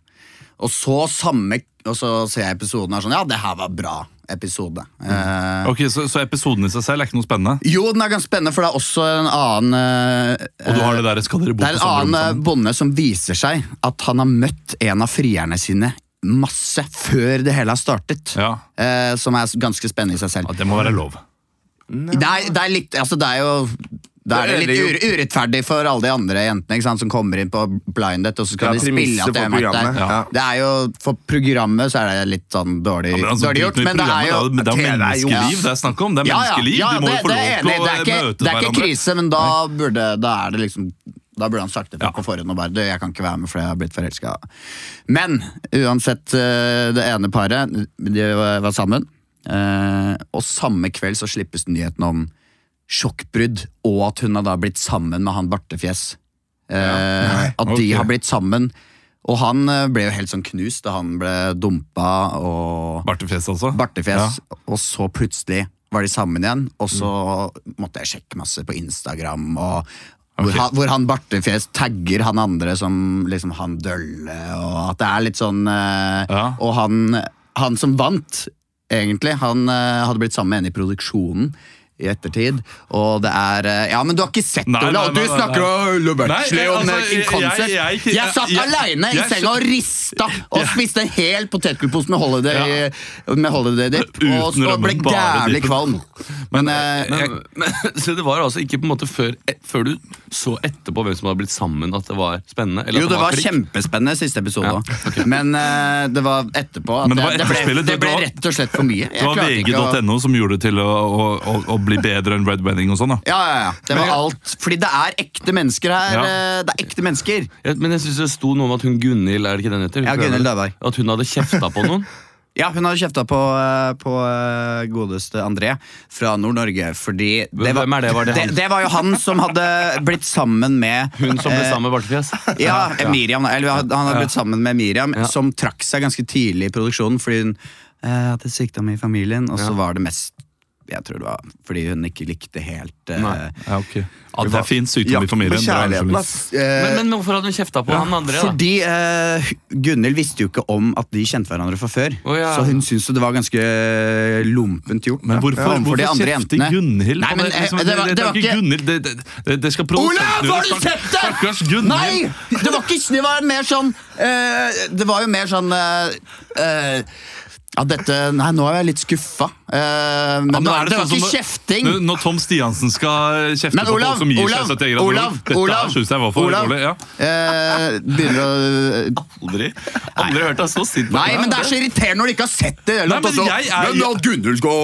Speaker 3: Og så samme Og så ser jeg episoden og er sånn Ja, det her var bra episode.
Speaker 1: Mm.
Speaker 3: Eh,
Speaker 1: Ok, så, så episoden i seg selv er ikke noe spennende?
Speaker 3: jo, den er ganske spennende, for det er også en annen eh,
Speaker 1: Og du sånn- har det der, skal dere bo
Speaker 3: det
Speaker 1: på
Speaker 3: er en
Speaker 1: samme rom
Speaker 3: annen
Speaker 1: sammen?
Speaker 3: eh, bonde som viser seg at han har møtt en av frierne sine masse før det hele har startet.
Speaker 1: Ja.
Speaker 3: Eh, som er s- ganske spennende i seg selv.
Speaker 1: ja, det må være lov.
Speaker 3: Det er, det er litt, altså det er jo da er det
Speaker 2: Det er
Speaker 3: litt ur, urettferdig for alle de andre jentene ikke sant, som kommer inn på Blindet, og så skal
Speaker 2: Ja,
Speaker 3: de spille
Speaker 2: premisset
Speaker 3: at de
Speaker 2: for
Speaker 3: har vært
Speaker 2: programmet,
Speaker 3: der.
Speaker 2: ja.
Speaker 3: Det er jo, For programmet så er det litt sånn dårlig,
Speaker 1: Ja, men altså,
Speaker 3: dårlig gjort,
Speaker 1: driten i
Speaker 3: men det er jo
Speaker 1: programmet, da, men det er
Speaker 2: jo-
Speaker 1: menneskeliv det er snakk om. Det er menneskeliv.
Speaker 3: ja,
Speaker 1: De må jo
Speaker 3: det-
Speaker 1: få
Speaker 3: det er enig.
Speaker 1: lov til
Speaker 3: Det er
Speaker 1: å
Speaker 3: ikke-
Speaker 1: møte
Speaker 3: Det er ikke
Speaker 1: hverandre.
Speaker 3: krise, men da burde Da er det liksom da burde han sagt det
Speaker 1: Ja.
Speaker 3: på forhånd og bare «Du, Jeg kan ikke være med fordi jeg har blitt forelska. Men uansett, eh, det ene paret, de var var sammen. eh, Og samme kveld så slippes nyheten om sjokkbrudd, og at hun har da blitt sammen med han Bartefjes. Eh, At de
Speaker 1: ok.
Speaker 3: har blitt sammen. Og han eh, ble jo helt sånn knust da han ble dumpa og
Speaker 1: Bartefjes, altså?
Speaker 3: bartefjes, og så plutselig var de sammen igjen, og så måtte jeg sjekke masse på Instagram, og hvor,
Speaker 1: Ok.
Speaker 3: han, hvor han bartefjes tagger han andre som liksom han dølle, og at det er litt sånn eh,
Speaker 1: Ja.
Speaker 3: Og han, han som vant, egentlig, han eh, hadde blitt sammen med en i produksjonen. I ettertid, og det er eh, Ja, men du har ikke sett
Speaker 1: Nei,
Speaker 3: det, Ola!
Speaker 1: nei,
Speaker 3: og Du
Speaker 1: nei, nei,
Speaker 3: snakker
Speaker 1: nei.
Speaker 3: om Ulle Bertsley
Speaker 1: Nei,
Speaker 3: om
Speaker 1: altså,
Speaker 3: eh, In
Speaker 1: jeg-
Speaker 3: Concert.
Speaker 1: jeg- jeg-
Speaker 3: Jeg, satt
Speaker 1: jeg-
Speaker 3: aleine i
Speaker 1: jeg-
Speaker 3: senga og rista og spiste en hel potetgullpose med Holiday, med holiday Dip.
Speaker 1: Uten
Speaker 3: Og, og ble
Speaker 1: rømme, bare
Speaker 3: jævlig
Speaker 1: dippen.
Speaker 3: kvalm. Men, eh,
Speaker 4: Men, men, så det var altså ikke på en måte før, et, før du så etterpå hvem som hadde blitt sammen, at det var spennende? eller at
Speaker 3: jo, det var
Speaker 4: klikk?
Speaker 3: kjempespennende siste episode.
Speaker 4: Ja,
Speaker 3: også. Men eh, det var etterpå. At
Speaker 1: Men det var
Speaker 3: ble,
Speaker 1: etterspillet,
Speaker 3: det
Speaker 1: det
Speaker 3: ble
Speaker 1: var-
Speaker 3: rett og slett for mye. Jeg
Speaker 1: Det var
Speaker 3: klarte ikke å-
Speaker 1: vg.no som gjorde det til å, å, å, å bli bedre enn Red Wedding og sånn, da.
Speaker 3: Ja, ja, ja. Det var alt. Fordi det er ekte mennesker her.
Speaker 1: Ja.
Speaker 3: eh, Det er ekte mennesker.
Speaker 4: Ja, men jeg synes det sto noe om at hun Gunhild, er det ikke den heter?
Speaker 3: Ja, Gunhild Daberg.
Speaker 4: At hun hadde kjefta på noen
Speaker 3: Ja, hun hadde kjefta på, eh, på eh, godeste André fra Nord-Norge, fordi
Speaker 4: Hvem er det? Var det han?
Speaker 3: det var jo han som hadde blitt sammen med
Speaker 4: Hun som ble
Speaker 3: eh,
Speaker 4: sammen med Bartefjes?
Speaker 3: Ja, Miriam. da. Eller han hadde blitt sammen med Miriam,
Speaker 4: Ja.
Speaker 3: som trakk seg ganske tidlig i produksjonen fordi hun eh, hadde sykdom i familien, og så
Speaker 4: Ja.
Speaker 3: var det mest jeg tror det var fordi hun ikke likte helt eh,
Speaker 4: Nei. Ja, ok.
Speaker 1: At det fins sykdom i
Speaker 2: Jakt med
Speaker 1: familien. det er liksom-
Speaker 2: kjærligheten, ass. Eh,
Speaker 4: Men, men hvorfor hadde hun kjefta på han andre? da?
Speaker 3: Fordi eh, Gunhild visste jo ikke om at de kjente hverandre fra før.
Speaker 4: Å, ja.
Speaker 3: Så hun syntes jo det var ganske lompent gjort.
Speaker 1: Men
Speaker 3: da.
Speaker 1: hvorfor,
Speaker 3: Ja, for
Speaker 1: hvorfor
Speaker 3: de andre
Speaker 1: kjefte
Speaker 3: jentene.
Speaker 1: Gunhild?
Speaker 3: Nei,
Speaker 1: på
Speaker 3: men,
Speaker 1: det? Liksom,
Speaker 3: eh, det var-
Speaker 1: det- det
Speaker 3: det
Speaker 1: er
Speaker 3: var
Speaker 1: ikke
Speaker 3: ikke-
Speaker 1: Gunhild det, det, det, det skal
Speaker 3: Olav,
Speaker 1: produsentene
Speaker 3: har du
Speaker 1: stakk-
Speaker 3: sett det?!
Speaker 1: Stakkars Gunhild!
Speaker 3: Nei! Det var ikke Det var mer sånn eh, Det var jo mer sånn eh, eh, Ja, dette Nei, nå er jeg litt skuffa. Eh, men
Speaker 1: Ja,
Speaker 3: det
Speaker 1: nå er
Speaker 3: var, det var
Speaker 1: sånn som
Speaker 3: ikke
Speaker 1: når-
Speaker 3: kjefting.
Speaker 1: Når, når Tom Stiansen skal kjefte
Speaker 3: Men
Speaker 1: på
Speaker 3: Olav,
Speaker 1: folk som gir
Speaker 3: Olav,
Speaker 1: seg 70 grader
Speaker 3: Olav,
Speaker 1: nord Dette
Speaker 3: Olav,
Speaker 1: syns jeg var for
Speaker 3: Olav.
Speaker 1: dårlig. Ja.
Speaker 3: Eh, begynner å
Speaker 1: Aldri, aldri hørt deg så sint. på
Speaker 3: Nei,
Speaker 1: det.
Speaker 3: men det er så irriterende når du ikke har sett det.
Speaker 1: Nei, men jeg er-
Speaker 3: Gunhild skal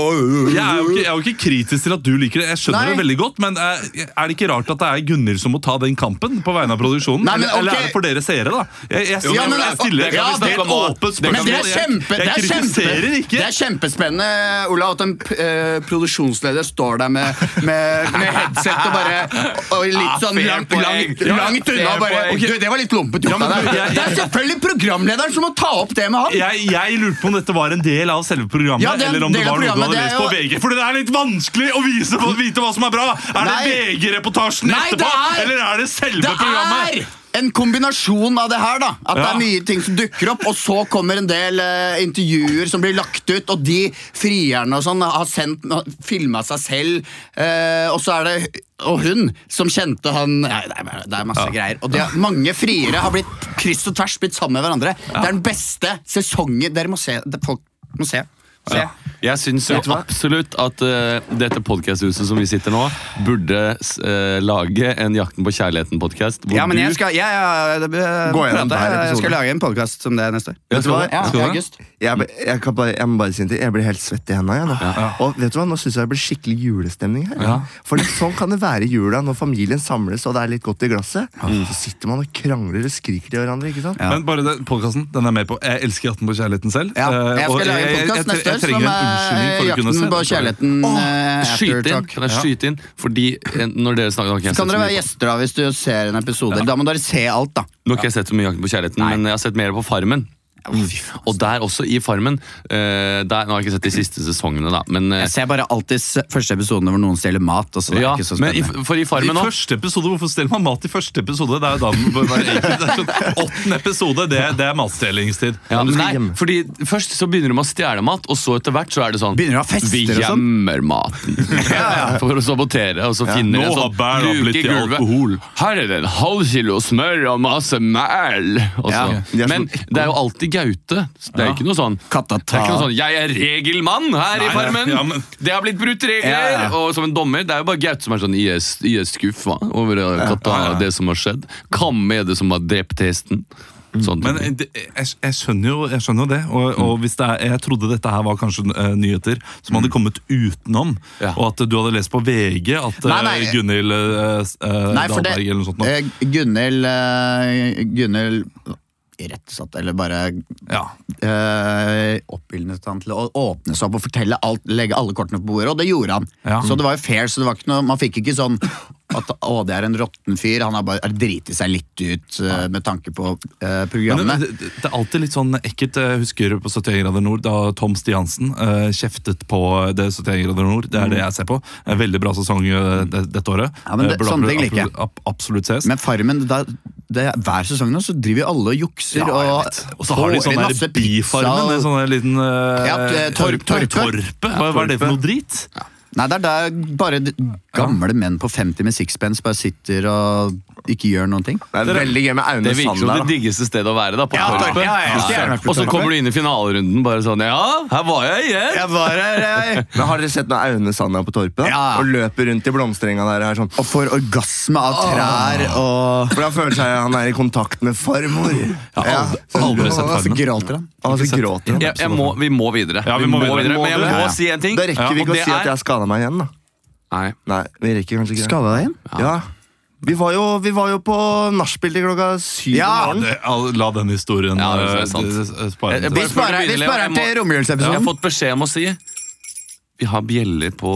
Speaker 1: Jeg er, jo ikke, jeg er jo ikke kritisk til at du liker det. Jeg skjønner
Speaker 3: Nei.
Speaker 1: det veldig godt, men eh, er det ikke rart at det er Gunnhild som må ta den kampen på vegne av produksjonen?
Speaker 3: Nei, men
Speaker 1: eller, eller
Speaker 3: ok.
Speaker 1: er det for dere seere, da? Jeg, jeg,
Speaker 3: Ja, men- altså,
Speaker 1: jeg stiller jeg
Speaker 3: Ja,
Speaker 1: kan
Speaker 3: det-
Speaker 1: snakke om åpent spørsmål.
Speaker 3: Men det er, kjempe,
Speaker 1: jeg, jeg
Speaker 3: det, er
Speaker 1: kritiserer
Speaker 3: kjempe,
Speaker 1: ikke.
Speaker 3: det er kjempespennende, Olav, at en eh, produksjonsleder står der med, med, med headset og bare og
Speaker 4: Ah,
Speaker 3: litt sånn
Speaker 4: fair
Speaker 3: langt,
Speaker 4: point.
Speaker 3: langt,
Speaker 4: Ja,
Speaker 3: langt unna.
Speaker 4: fair
Speaker 3: og Bare,
Speaker 4: point.
Speaker 3: du, det var litt lompete
Speaker 1: Ja,
Speaker 3: gjort
Speaker 1: men
Speaker 3: av
Speaker 1: du,
Speaker 3: deg.
Speaker 1: jeg-
Speaker 3: Det er selvfølgelig programlederen som må ta opp det med han!
Speaker 1: jeg, jeg lurte på om dette var en del av selve programmet,
Speaker 3: Ja, det er en
Speaker 1: eller om det
Speaker 3: del av
Speaker 1: var noe du
Speaker 3: programmet,
Speaker 1: hadde
Speaker 3: det
Speaker 1: lest
Speaker 3: er
Speaker 1: på
Speaker 3: jo-
Speaker 1: VG. For det er litt vanskelig å vise, å vite hva som er bra! Er
Speaker 3: Nei.
Speaker 1: det VG-reportasjen
Speaker 3: Nei, det
Speaker 1: etterpå,
Speaker 3: er-
Speaker 1: eller er det selve
Speaker 3: Det
Speaker 1: programmet?
Speaker 3: er en kombinasjon av det her, da. At det
Speaker 1: Ja.
Speaker 3: er mye ting som dukker opp, og så kommer en del eh, intervjuer som blir lagt ut, og de frierne og sånn har sendt filma seg selv, eh, og så er det og hun som kjente han Nei, det er, det er masse greier. Og de, har- mange friere har blitt kryss og tvers blitt sammen med hverandre. Det er den beste sesongen Dere må se. Det, folk må se. se.
Speaker 4: Ja. Jeg syns jo absolutt at eh, dette podcasthuset som vi sitter nå, burde s- eh, lage en Jakten på kjærligheten-podkast.
Speaker 3: Ja, men jeg skal, jeg, jeg,
Speaker 2: Gå gjennom hver
Speaker 3: jeg,
Speaker 2: episode.
Speaker 3: skal lage en podkast som det neste år.
Speaker 2: Vet du hva?
Speaker 3: Ja, i
Speaker 4: Skal du det?
Speaker 3: august.
Speaker 2: Jeg, be- jeg, kan bare, jeg må bare si en ting. Jeg blir helt svett i hendene. Jeg, nå. Og vet du hva, nå syns jeg det blir skikkelig julestemning her. For det- sånn kan det være i jula når familien samles og det er litt godt i glasset. Så sitter man og krangler og skriker til hverandre. ikke sant?
Speaker 1: Men bare den podkasten den er jeg med på. Jeg elsker Jakten på kjærligheten selv.
Speaker 3: Ja,
Speaker 1: Eh,
Speaker 3: jeg
Speaker 1: og
Speaker 3: skal lage en
Speaker 1: jeg-
Speaker 3: podkast
Speaker 1: jeg-
Speaker 3: neste år
Speaker 1: Jeg
Speaker 3: som
Speaker 1: trenger en unnskyldning
Speaker 3: er
Speaker 1: for å kunne se
Speaker 3: Jakten på
Speaker 1: det.
Speaker 3: kjærligheten. eh, after
Speaker 4: Skyte inn!
Speaker 3: talk.
Speaker 4: Kan jeg skyte inn? Fordi eh, når dere snakker
Speaker 3: Så kan dere være gjester da hvis du ser en episode. Da må dere se alt, da.
Speaker 4: Nå har ikke jeg sett så mye Jakten på kjærligheten, men jeg har sett mer på Farmen. Og der også, i Farmen eh, der, Nå har jeg ikke sett de siste sesongene, da, men eh,
Speaker 3: Jeg ser bare alltid s- første episoden hvor noen stjeler mat. Og så det er
Speaker 4: ja,
Speaker 3: ikke så
Speaker 4: men i,
Speaker 3: spennende.
Speaker 4: for i
Speaker 1: I
Speaker 4: Farmen nå
Speaker 1: første episode, Hvorfor steller man mat i første episode? Det er jo da den bør være egentlig- det er sånn, Åttende episode, det, det er matstjelingstid.
Speaker 4: ja,
Speaker 2: du skal
Speaker 4: nei,
Speaker 2: gjemme.
Speaker 4: fordi Først så begynner de å stjele mat, og så etter hvert så er det sånn
Speaker 3: Begynner å ha fester
Speaker 4: Vi
Speaker 3: og sånn."
Speaker 4: gjemmer maten for å sabotere, og så
Speaker 1: Nå
Speaker 4: finner de en
Speaker 1: har
Speaker 4: sånn
Speaker 1: bæra
Speaker 4: luke i
Speaker 1: blitt til
Speaker 4: gulvet.
Speaker 1: alkohol.
Speaker 4: Her er det en halv kilo smør og masse mel! Og så.
Speaker 3: Ja.
Speaker 2: De er
Speaker 4: Men
Speaker 2: sånn-
Speaker 4: det er jo alltid Gaute. Det er jo ikke noe sånn
Speaker 3: Katta
Speaker 4: det er ikke noe
Speaker 3: ta.
Speaker 4: sånn 'jeg er regelmann her i
Speaker 1: Nei,
Speaker 4: Farmen'.
Speaker 1: ja, men-
Speaker 4: Det har blitt brutt regler!
Speaker 3: Ja, ja.
Speaker 4: Og som en dommer, det er jo bare Gaute som er sånn 'jeg er s- jeg er skuffa over eh, katta, det som har skjedd'. Hvem er det som har drept hesten? Sånn.
Speaker 1: Men eh, det, jeg, jeg, skjønner jo, jeg skjønner jo det. Og,
Speaker 4: Mm.
Speaker 1: og hvis det er, jeg trodde dette her var kanskje eh, nyheter som hadde kommet utenom.
Speaker 4: Ja.
Speaker 1: Og at du hadde lest på VG at
Speaker 3: Nei, nei.
Speaker 1: eh, Gunhild eh, s- eh,
Speaker 3: Nei, for det
Speaker 1: Dahlberg eller noe sånt. nå.
Speaker 3: eh, Gunhild eh, Gunhild irettesatt, eller bare
Speaker 1: Ja.
Speaker 3: eh, oppildnet han til å åpne seg opp og fortelle alt, legge alle kortene på bordet, og det gjorde han.
Speaker 1: Ja.
Speaker 3: Så det var jo fair, så det var ikke noe, man fikk ikke sånn at å, det er en råtten fyr, han har bare driti seg litt ut eh, med tanke på eh,
Speaker 1: Men
Speaker 3: programmet.
Speaker 1: det, det, det er alltid litt sånn ekkelt. Jeg husker på 71 grader nord da Tom Stiansen eh, kjeftet på det 71 grader nord. Det er det jeg ser på. En veldig bra sesong eh, det, dette året.
Speaker 3: Mm. Ja, men det-
Speaker 1: Eh, burde
Speaker 3: sånne ting
Speaker 1: absolutt-
Speaker 3: liker jeg.
Speaker 1: absolutt- ab- Absolutt ses.
Speaker 3: Men Farmen, da, det, hver sesong nå så driver jo alle og jukser.
Speaker 1: Ja, jeg vet.
Speaker 3: og,
Speaker 1: og så har de
Speaker 3: får inn
Speaker 1: sånn
Speaker 3: masse
Speaker 1: der
Speaker 3: pizza
Speaker 1: Bifarmen,
Speaker 3: og-
Speaker 1: en sånn der liten eh,
Speaker 3: Ja, eh, torp- torpe.
Speaker 1: Torpe. Hva hva er det for noe drit?
Speaker 3: Nei, det er der bare de gamle menn på 50 med sixpence bare sitter og ikke gjør noen ting.
Speaker 2: Det er veldig gøy med Aune
Speaker 4: Det virker
Speaker 2: Sand
Speaker 4: som det
Speaker 2: der. da.
Speaker 4: diggeste stedet å være. da, på
Speaker 3: Ja,
Speaker 4: torpet.
Speaker 3: ja, ja, ja. Stjernen er på
Speaker 4: Og så
Speaker 3: torpet.
Speaker 4: kommer du inn i finalerunden bare sånn Ja, her var jeg igjen!
Speaker 3: var her, jeg!
Speaker 2: Men Har dere sett når Aune Sand er på torpet? da?
Speaker 3: Ja.
Speaker 2: Og løper rundt i blomsterenga der og er sånn
Speaker 3: Og får orgasme av trær og
Speaker 2: For han føler seg han er i kontakt med farmor. Ja,
Speaker 1: aldri- aldri sett farmor.
Speaker 2: Og
Speaker 3: Og så gråter han.
Speaker 2: så gråter han.
Speaker 4: Jeg, jeg må, vi må videre.
Speaker 1: Ja, vi må videre. Vi må
Speaker 4: Men jeg må
Speaker 1: videre. Ja, ja.
Speaker 4: si en ting.
Speaker 2: Da rekker vi
Speaker 4: og
Speaker 2: ikke å
Speaker 4: det
Speaker 2: si at
Speaker 4: er-
Speaker 2: jeg skada meg igjen, da.
Speaker 4: Nei.
Speaker 2: Nei, vi rekker kanskje ikke det.
Speaker 3: Skada deg igjen?
Speaker 2: Ja. Vi var jo, vi var jo på nachspiel til klokka syv
Speaker 3: Ja,
Speaker 2: om morgenen.
Speaker 1: Det- al- La den historien
Speaker 4: Ja, det er
Speaker 1: eh, d-
Speaker 4: sant.
Speaker 1: d- spare
Speaker 4: Jeg- jeg
Speaker 1: den til.
Speaker 4: bare-
Speaker 3: Vi sparer, vi sparer til
Speaker 4: Jeg har
Speaker 3: romjulsepisoden.
Speaker 4: fått beskjed om å si Vi har bjeller på,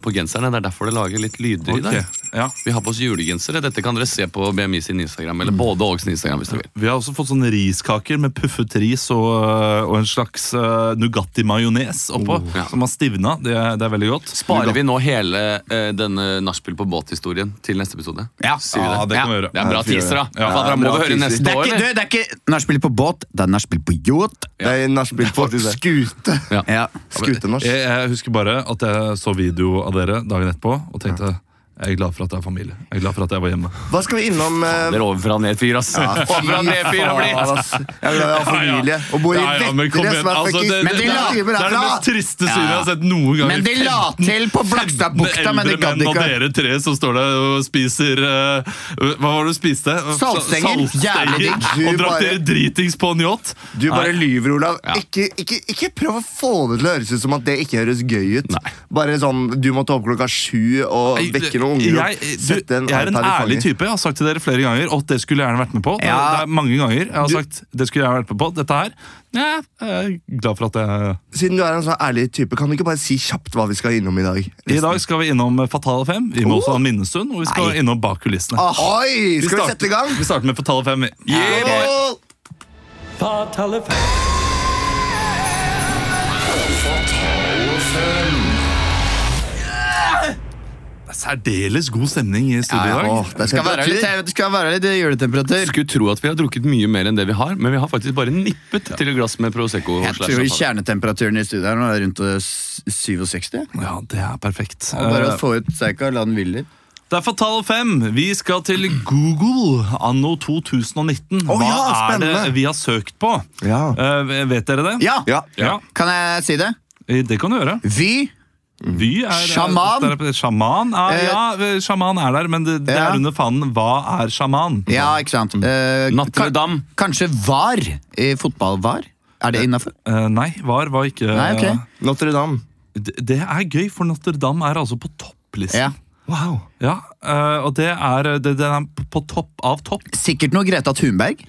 Speaker 4: på genserne. Det er derfor det lager litt lyder i dag.
Speaker 1: Ok, Ja.
Speaker 4: Vi har på oss julegensere. Dette kan dere se på BMI sin Instagram.
Speaker 1: Mm.
Speaker 4: Eller både og sin Instagram hvis dere vil.
Speaker 1: Vi har også fått sånne riskaker med puffet ris og, øh, og en slags uh, Nugatti-majones oppå,
Speaker 4: Ja.
Speaker 1: som har stivna. Det, er- det er veldig godt.
Speaker 4: Sparer vi nå hele eh, denne nachspiel på båt-historien til neste episode?
Speaker 1: Ja,
Speaker 4: Sier vi
Speaker 1: ja, det kan vi gjøre. Eh,
Speaker 4: Det er en bra
Speaker 2: Ja, det
Speaker 4: teaser, da.
Speaker 1: Ja,
Speaker 4: Ja, da må
Speaker 2: bra
Speaker 4: du høre
Speaker 2: teaser.
Speaker 4: neste
Speaker 3: Det er
Speaker 4: år,
Speaker 3: ikke, du,
Speaker 4: eller?
Speaker 3: det er ikke nachspiel på båt, det er nachspiel på yacht.
Speaker 2: Det er nachspiel på
Speaker 4: faktisk det.
Speaker 2: skute.
Speaker 4: Ja.
Speaker 3: Ja.
Speaker 2: Skutenorsk.
Speaker 1: Jeg, jeg husker bare at jeg så video av dere dagen etterpå og tenkte jeg er glad for at det er familie. Jeg er glad for at jeg var hjemme.
Speaker 2: Hva skal vi innom? eh,
Speaker 4: Dere er ovenfra og ned-fyr, ass. Ovenfra og ned-fyr har
Speaker 2: faen,
Speaker 4: blitt.
Speaker 2: ass. Jeg er glad jeg har familie og bor i
Speaker 1: Ja, ja, men kom
Speaker 2: Vettre,
Speaker 1: igjen,
Speaker 2: som er
Speaker 1: altså,
Speaker 2: fucking
Speaker 1: det-
Speaker 3: Men de
Speaker 2: fire
Speaker 3: la-
Speaker 2: timer
Speaker 1: Det er det
Speaker 2: herfra.
Speaker 1: mest triste synet jeg har sett noen gang.
Speaker 3: Men de la til på Blakstadbukta, men de gadd
Speaker 1: og
Speaker 3: ikke.
Speaker 1: dere tre som står der og spiser eh, Hva var det du spiste?
Speaker 3: Saltstenger.
Speaker 1: Saltstenger,
Speaker 3: Jævlig
Speaker 2: digg.
Speaker 1: Og drakk
Speaker 2: Du bare-
Speaker 1: dere dritings på en yacht.
Speaker 2: Du bare lyver, Olav.
Speaker 4: Ja.
Speaker 2: Ikke, ikke, ikke prøv å få det til å høres ut som at det ikke høres gøy ut. Bare sånn, Du måtte opp klokka sju og
Speaker 1: Jeg-
Speaker 2: vekke noen unger.
Speaker 1: Jeg,
Speaker 2: opp,
Speaker 1: du,
Speaker 2: sette en
Speaker 1: jeg er en
Speaker 2: iPad i
Speaker 1: ærlig
Speaker 2: fanget.
Speaker 1: type. Jeg har sagt til dere flere ganger at det skulle jeg gjerne vært med på. Det-
Speaker 3: Ja.
Speaker 1: Det er mange ganger jeg har
Speaker 2: Du-
Speaker 1: sagt det skulle jeg vært med på. Dette her. Ja, jeg er glad for at jeg
Speaker 2: Siden du er en sånn ærlig type, kan du ikke bare si kjapt hva vi skal innom i dag?
Speaker 1: I dag skal vi innom Fatale 5. Vi må også ha en minnestund, og vi skal innom bak kulissene.
Speaker 2: Oi! Oh! Ah, Skal vi
Speaker 1: starter-
Speaker 2: sette i gang?
Speaker 1: Vi starter med Fatale 5. Yeah, boy.
Speaker 2: Åh!
Speaker 1: Det er Særdeles god stemning i studio i dag.
Speaker 2: Åh, det
Speaker 3: Det
Speaker 2: er
Speaker 3: skal være
Speaker 2: temperatur.
Speaker 3: litt, det skal være litt juletemperatur.
Speaker 4: Jeg skulle tro at vi har drukket mye mer enn det vi har, men vi har faktisk bare nippet til et glass med Prosecco.
Speaker 3: Jeg
Speaker 4: slash
Speaker 3: tror
Speaker 4: champagne.
Speaker 3: kjernetemperaturen i studiet her nå er rundt eh, s- 67.
Speaker 1: Ja, det er perfekt.
Speaker 3: Bare
Speaker 1: Eh,
Speaker 3: å få ut seika, la den hvile litt.
Speaker 1: Det er Fatale 5. Vi skal til Google anno 2019.
Speaker 2: Å, ja,
Speaker 1: er det
Speaker 2: spennende.
Speaker 1: vi har søkt på?
Speaker 2: Ja.
Speaker 1: Eh, vet dere det?
Speaker 3: Ja!
Speaker 2: Ja.
Speaker 1: Ja, eh,
Speaker 3: Kan jeg si det?
Speaker 1: Det kan du gjøre.
Speaker 3: Vy.
Speaker 1: Vy er
Speaker 3: Sjaman?
Speaker 1: Der, er- sjaman er,
Speaker 3: Eh,
Speaker 1: ja, sjaman er der, men det, det
Speaker 3: ja.
Speaker 1: er under fanen 'hva er sjaman'?
Speaker 3: Ja, ikke sant. Eh,
Speaker 4: Notre
Speaker 3: kan-
Speaker 4: Dame.
Speaker 3: Kanskje VAR i fotball-VAR? Er det innafor?
Speaker 1: Eh, nei, var var ikke
Speaker 3: Nei, ok.
Speaker 2: Notre-Dame.
Speaker 1: det, det er gøy, for Notre-Dame er altså på topplisten.
Speaker 3: Ja.
Speaker 2: Wow.
Speaker 1: Ja, eh, og det er, det, den er på- på topp av topp.
Speaker 3: Sikkert noe Greta Thunberg.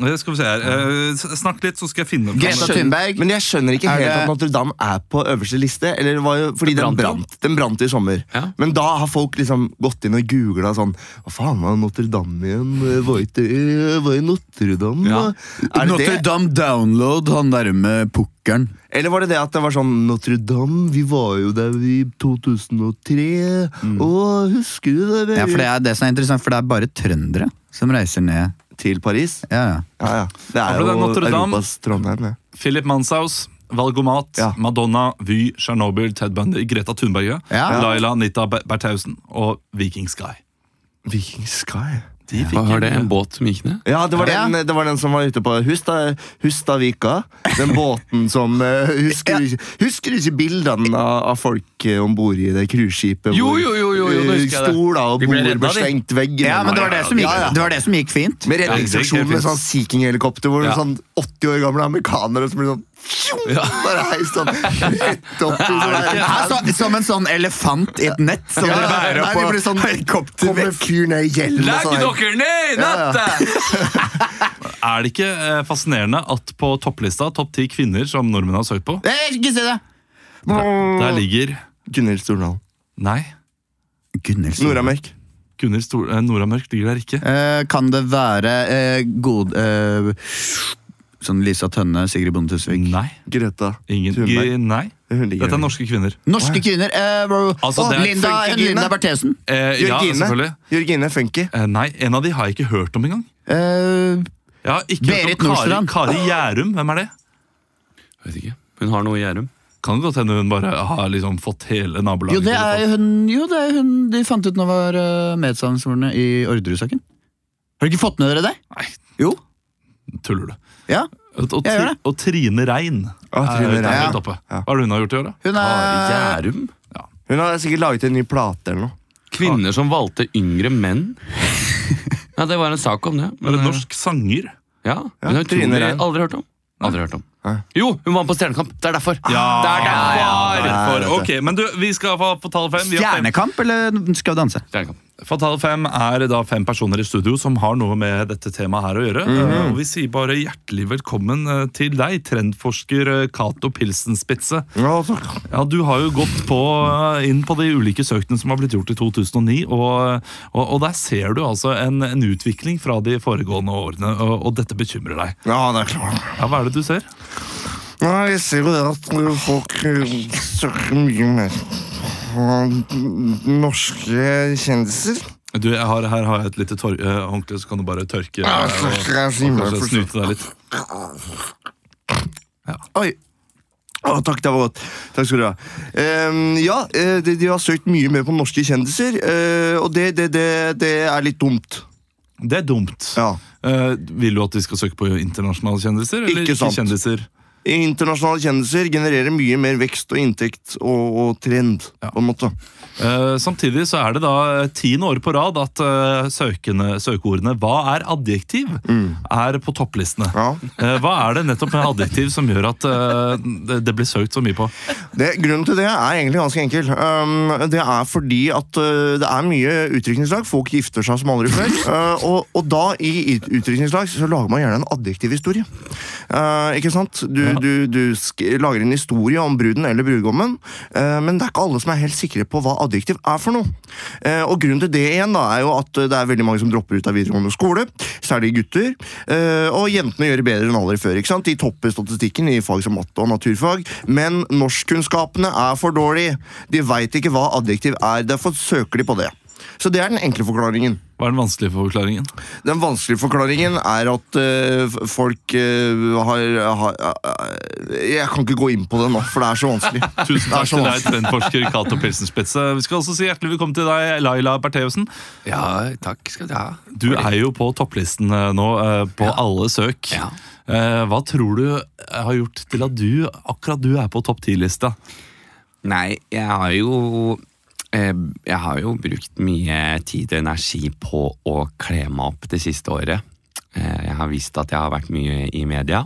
Speaker 1: Eh, Skal vi se her. eh, s- snakk litt, så skal jeg finne
Speaker 3: Greta
Speaker 1: fram-
Speaker 3: Thunberg.
Speaker 2: Men jeg skjønner ikke
Speaker 3: Er
Speaker 2: helt
Speaker 3: det-
Speaker 2: at Notre-Dame er på øverste liste. Eller det var jo, fordi den
Speaker 4: brant jo.
Speaker 2: brant, den brant i sommer.
Speaker 4: Ja.
Speaker 2: Men da har folk liksom gått inn og googla sånn Hva faen var Notre-Dame igjen? Var ikke det var i Notre-Dame?
Speaker 1: Ja.
Speaker 2: Er det det?
Speaker 3: Notre-Dame Download, han der med pukkelen.
Speaker 2: Eller var det det at det var sånn Notre-Dame, vi var jo der i 2003. Å, husker du det?
Speaker 3: Ja, for det er det som er interessant, for det er bare trøndere som reiser ned.
Speaker 2: Til Paris?
Speaker 3: Ja, ja.
Speaker 2: Ja, ja. Det
Speaker 1: Ja,
Speaker 2: er
Speaker 1: for det er
Speaker 2: jo
Speaker 1: Notre-Dame.
Speaker 2: Europas Trondheim. Ja.
Speaker 1: Philip Manshaus, Valgomat,
Speaker 2: Ja.
Speaker 1: Madonna, Vy, Tsjernobyl, Ted Bundy, Greta Thunberg,
Speaker 3: Ja.
Speaker 1: Laila, Nita Ber- Berthausen og Viking Sky.
Speaker 2: Viking Sky.
Speaker 1: De fikk
Speaker 4: Hva var det?
Speaker 1: en-
Speaker 4: En båt som gikk ned?
Speaker 2: Ja, det var,
Speaker 3: Ja.
Speaker 2: den, det var den som var ute på Husta, Hustavika. Den båten som eh, Husker, du ikke- husker du ikke bildene av, av folk eh, om bord i det cruiseskipet?
Speaker 4: Jo, jo, jo, jo, jo, nå
Speaker 2: eh,
Speaker 4: husker jeg det.
Speaker 2: Stola og
Speaker 4: De ble
Speaker 2: bord
Speaker 4: redda,
Speaker 2: ble
Speaker 4: de.
Speaker 2: slengt veggen.
Speaker 3: ja, men det var det som gikk, det var det som gikk fint.
Speaker 1: Ja,
Speaker 2: Med
Speaker 1: det
Speaker 2: redningsaksjon
Speaker 1: er
Speaker 2: med
Speaker 1: helt
Speaker 2: sånn Sea King-helikopter hvor
Speaker 4: Ja.
Speaker 2: sånn 80 år gamle amerikanere som blir sånn tjong, Bare heist sånn rett opp i sånn
Speaker 3: Det
Speaker 2: der.
Speaker 3: er så, som en sånn elefant i et nett som
Speaker 2: Ja,
Speaker 3: dere bærer
Speaker 2: nei,
Speaker 3: på.
Speaker 2: de blir sånn-
Speaker 3: helikopter
Speaker 2: Kommer en fyr ned i hjelmen og
Speaker 4: Legg
Speaker 2: sånn. her.
Speaker 4: dere ned i
Speaker 2: Ja, ja.
Speaker 4: nettet!
Speaker 1: Er det ikke eh, fascinerende at på topplista, topp ti kvinner som nordmenn har søkt på,
Speaker 3: Nei, Jeg skal ikke si det!
Speaker 1: der ligger
Speaker 2: Gunhild Stordalen.
Speaker 1: Nei,
Speaker 3: Gunnilsen.
Speaker 2: Nora Mørk.
Speaker 1: Gunnhild Stor- eh, Nora Mørk ligger der ikke.
Speaker 3: Eh, kan det være eh, god eh, Sånn Lisa Tønne, Sigrid Bonde Tusvik
Speaker 1: Nei.
Speaker 2: Greta
Speaker 1: Ingen.
Speaker 2: Thunberg.
Speaker 1: G- Nei.
Speaker 2: Hun ligger
Speaker 1: Dette er
Speaker 2: der.
Speaker 1: norske kvinner.
Speaker 3: Norske kvinner! Eh, bro.
Speaker 1: Altså,
Speaker 3: Å,
Speaker 1: det er
Speaker 3: Linda,
Speaker 2: funky
Speaker 3: Linda
Speaker 2: kvinne.
Speaker 3: Berthesen.
Speaker 1: Eh, ja, selvfølgelig.
Speaker 2: Jørgine. Jørgine Funky.
Speaker 1: Eh, nei, en av de har jeg ikke hørt om engang.
Speaker 3: Eh,
Speaker 1: Jeg har ikke
Speaker 3: Berit
Speaker 1: hørt om Kari,
Speaker 3: Nordstrand.
Speaker 1: Kari Gjærum. Hvem er det?
Speaker 4: Jeg vet ikke. Hun har noe i Gjærum.
Speaker 1: Kan godt hende hun bare har liksom fått hele nabolaget.
Speaker 3: jo, det
Speaker 1: til å
Speaker 3: er
Speaker 1: få-
Speaker 3: hun, jo, det er hun de fant ut nå var uh, medsammensvorne i Orderud-saken. Har dere ikke fått med dere det?
Speaker 1: Nei,
Speaker 3: Jo.
Speaker 1: tuller du.
Speaker 3: Ja.
Speaker 1: Og, og,
Speaker 3: Jeg gjør
Speaker 1: Tri- og Trine Rein
Speaker 2: Å,
Speaker 1: er
Speaker 2: Trine Rein,
Speaker 1: er
Speaker 2: ja.
Speaker 1: høyt oppe.
Speaker 2: Ja.
Speaker 1: Hva er det hun har gjort i år, da?
Speaker 3: Hun er
Speaker 4: Gjærum?
Speaker 2: Hun har sikkert laget en ny plate eller noe.
Speaker 4: Kvinner som valgte yngre menn. Ja, det var en sak om det.
Speaker 1: Er
Speaker 4: Men,
Speaker 2: Mm.
Speaker 4: eh,
Speaker 1: det norsk sanger?
Speaker 4: Ja,
Speaker 2: Ja,
Speaker 4: men det er
Speaker 2: Trine
Speaker 4: utrolig-
Speaker 2: Rein.
Speaker 4: Aldri hørt om. Aldri hørt om.
Speaker 2: Nei.
Speaker 4: Jo, hun vant på Stjernekamp! Det er derfor. det er derfor.
Speaker 1: derfor.
Speaker 2: ja, ja.
Speaker 1: Ok, men du, vi skal få på tall fem. Vi har fem.
Speaker 3: Stjernekamp, eller skal vi danse?
Speaker 4: Stjernekamp.
Speaker 1: Fatale fem er da fem personer i studio som har noe med dette temaet her å gjøre.
Speaker 2: Mm.
Speaker 1: Eh, Og vi sier bare hjertelig velkommen eh, til deg, trendforsker eh, Cato Pilsenspitze.
Speaker 2: Ja, takk.
Speaker 1: Ja, Du har jo gått på, eh, inn på de ulike søkene som har blitt gjort i 2009. Og, og, og der ser du altså en, en utvikling fra de foregående årene, og, og dette bekymrer deg.
Speaker 2: ja, det er klart.
Speaker 1: Ja, Hva er det du ser?
Speaker 2: Nei, jeg ser jo det at folk søker mye mer på norske kjendiser.
Speaker 1: Du, jeg har, Her har jeg et lite tor- eh, håndkle, så kan du bare tørke. eh,
Speaker 2: Ja,
Speaker 1: og-
Speaker 2: så skal jeg si
Speaker 1: og
Speaker 2: meg
Speaker 1: kanskje
Speaker 2: først.
Speaker 1: snyte deg litt.
Speaker 2: Oi. Å, takk, det var godt. Takk skal du ha. Ehm, ja, eh, de, de har søkt mye mer på norske kjendiser, eh, og det, det, det, det er litt dumt.
Speaker 1: Det er dumt.
Speaker 2: Ja.
Speaker 1: Eh, vil du at de skal søke på internasjonale kjendiser? Eller
Speaker 2: Ikke
Speaker 1: ikke,
Speaker 2: sant.
Speaker 1: kjendiser?
Speaker 2: Internasjonale kjendiser genererer mye mer vekst og inntekt og, og trend, på en måte.
Speaker 1: Eh, samtidig så er det da eh, tiende år på rad at eh, søkende, søkeordene 'hva er adjektiv' er på topplistene.
Speaker 2: Mm. Ja.
Speaker 1: Eh, hva er det nettopp med adjektiv som gjør at eh, det, det blir søkt så mye på?
Speaker 2: Det, grunnen til det er egentlig ganske enkel. Um, det er fordi at uh, det er mye utdrikningslag. Folk gifter seg som aldri før. Uh, og, og da, i ut- utdrikningslag, så lager man gjerne en adjektiv historie. Uh, ikke sant? Du, du, du sk lager en historie om bruden eller brudgommen, uh, men det er ikke alle som er helt sikre på hva adjektiv er for noe. Uh, og grunnen til det igjen da, er jo at uh, det er veldig mange som dropper ut av videregående skole, særlig gutter. Uh, og jentene gjør det bedre enn aldri før. ikke sant? De topper statistikken i fag som matte og naturfag, men norskkunnskapene er for dårlige. De veit ikke hva adjektiv er, derfor søker de på det. Så det er den enkle forklaringen.
Speaker 1: Hva er den vanskelige forklaringen?
Speaker 2: Den vanskelige forklaringen er at eh, f- folk eh, har, har eh, Jeg kan ikke gå inn på det nå, for det er så vanskelig.
Speaker 1: Tusen
Speaker 2: Det er
Speaker 1: takk
Speaker 2: så
Speaker 1: til deg, trendforsker Cato Pilsenspitze. Vi skal også si hjertelig velkommen til deg, Laila Bertheussen.
Speaker 4: Ja, takk skal du ha.
Speaker 1: Du er jo på topplisten eh, nå, eh, på alle søk.
Speaker 4: Ja.
Speaker 1: Eh, Hva tror du eh, har gjort til at du, akkurat du, er på topp ti-lista?
Speaker 4: Nei, jeg har jo eh, Jeg har jo brukt mye tid og energi på å kle meg opp det siste året. Eh, Jeg har visst at jeg har vært mye i media.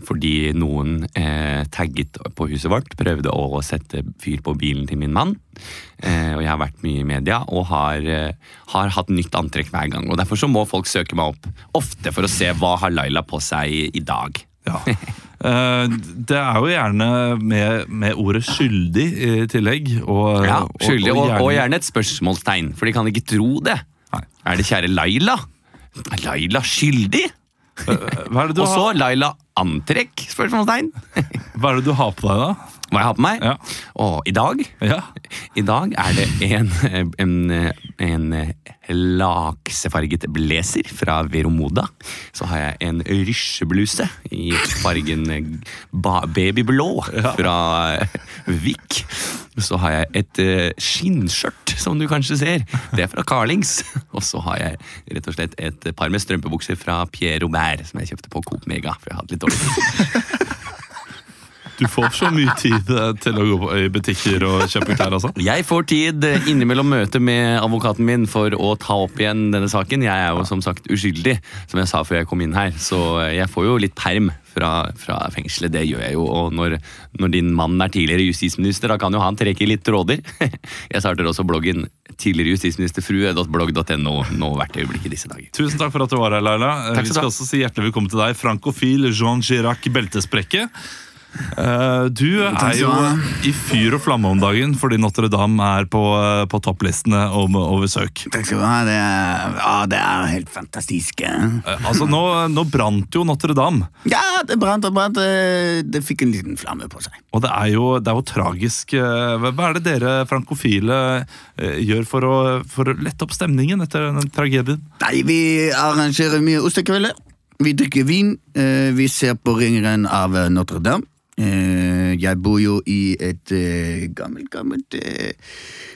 Speaker 4: Fordi noen eh, tagget på huset vårt, prøvde å sette fyr på bilen til min mann. Eh, og jeg har vært mye i media og har, eh, har hatt nytt antrekk hver gang. Og Derfor så må folk søke meg opp, ofte for å se hva har Laila på seg i, i dag.
Speaker 1: Ja. Eh, Det er jo gjerne med, med ordet skyldig i tillegg. Og,
Speaker 4: Ja, skyldig, og, og
Speaker 1: gjerne-
Speaker 4: gjerne et spørsmålstegn, for de kan ikke tro det.
Speaker 1: Nei.
Speaker 4: Er det kjære Laila? Er Laila skyldig?
Speaker 1: Hva er, det du
Speaker 4: Og så
Speaker 1: har,
Speaker 4: Laila antrekk? Spørsmålstegn.
Speaker 1: hva er det du har på deg, da?
Speaker 4: Hva jeg har på meg?
Speaker 1: Ja.
Speaker 4: Og i dag
Speaker 1: Ja.
Speaker 4: I dag er det en, en, en laksefarget blazer fra Veromoda. Så har jeg en rysjebluse i fargen ba babyblå fra Vik. Så har jeg et eh, skinnskjørt, som du kanskje ser. Det er fra Carlings. Og så har jeg rett og slett et par med strømpebukser fra Pierre Robert, som jeg kjøpte på Coop Mega. for jeg hadde litt dårlig tid.
Speaker 1: Du får så mye tid eh, til å gå på, i butikker og kjøpe klær, altså.
Speaker 4: Jeg får tid eh, innimellom møtet med advokaten min for å ta opp igjen denne saken. Jeg er jo som sagt uskyldig, som jeg sa før jeg kom inn her. Så eh, jeg får jo litt perm fra, fra fengselet, det gjør jeg jo. Og når, når din mann er tidligere justisminister, da kan jo han trekke i litt tråder. Jeg starter også bloggen tidligere justisministerfrue.blogg.no nå hvert øyeblikk i disse dager.
Speaker 1: Tusen takk for at du var her, Laila. Eh,
Speaker 4: Takk skal
Speaker 1: Vi
Speaker 4: du
Speaker 1: skal
Speaker 4: ha.
Speaker 1: også si hjertelig velkommen til deg, frankofil Jean-Girac Beltesprekke. Eh, Du er jo
Speaker 3: skal
Speaker 1: i fyr og flamme om dagen fordi Notre-Dame er på, eh, på topplistene om, over søk.
Speaker 3: Takk skal du ha. Det er, ja, det er helt fantastisk. eh.
Speaker 1: Eh, Altså, nå, nå brant jo Notre-Dame.
Speaker 3: Ja, det brant og brant. eh, Det fikk en liten flamme på seg.
Speaker 1: Og det er, jo, det er jo tragisk. Eh, Hva hva er det dere frankofile eh, gjør for å, for å lette opp stemningen etter den tragedien?
Speaker 3: Nei, vi arrangerer mye ostekvelder. Vi drikker vin. eh, vi ser på ringeren av eh, Notre-Dame. Eh, jeg bor jo i et eh, gammelt, gammelt eh,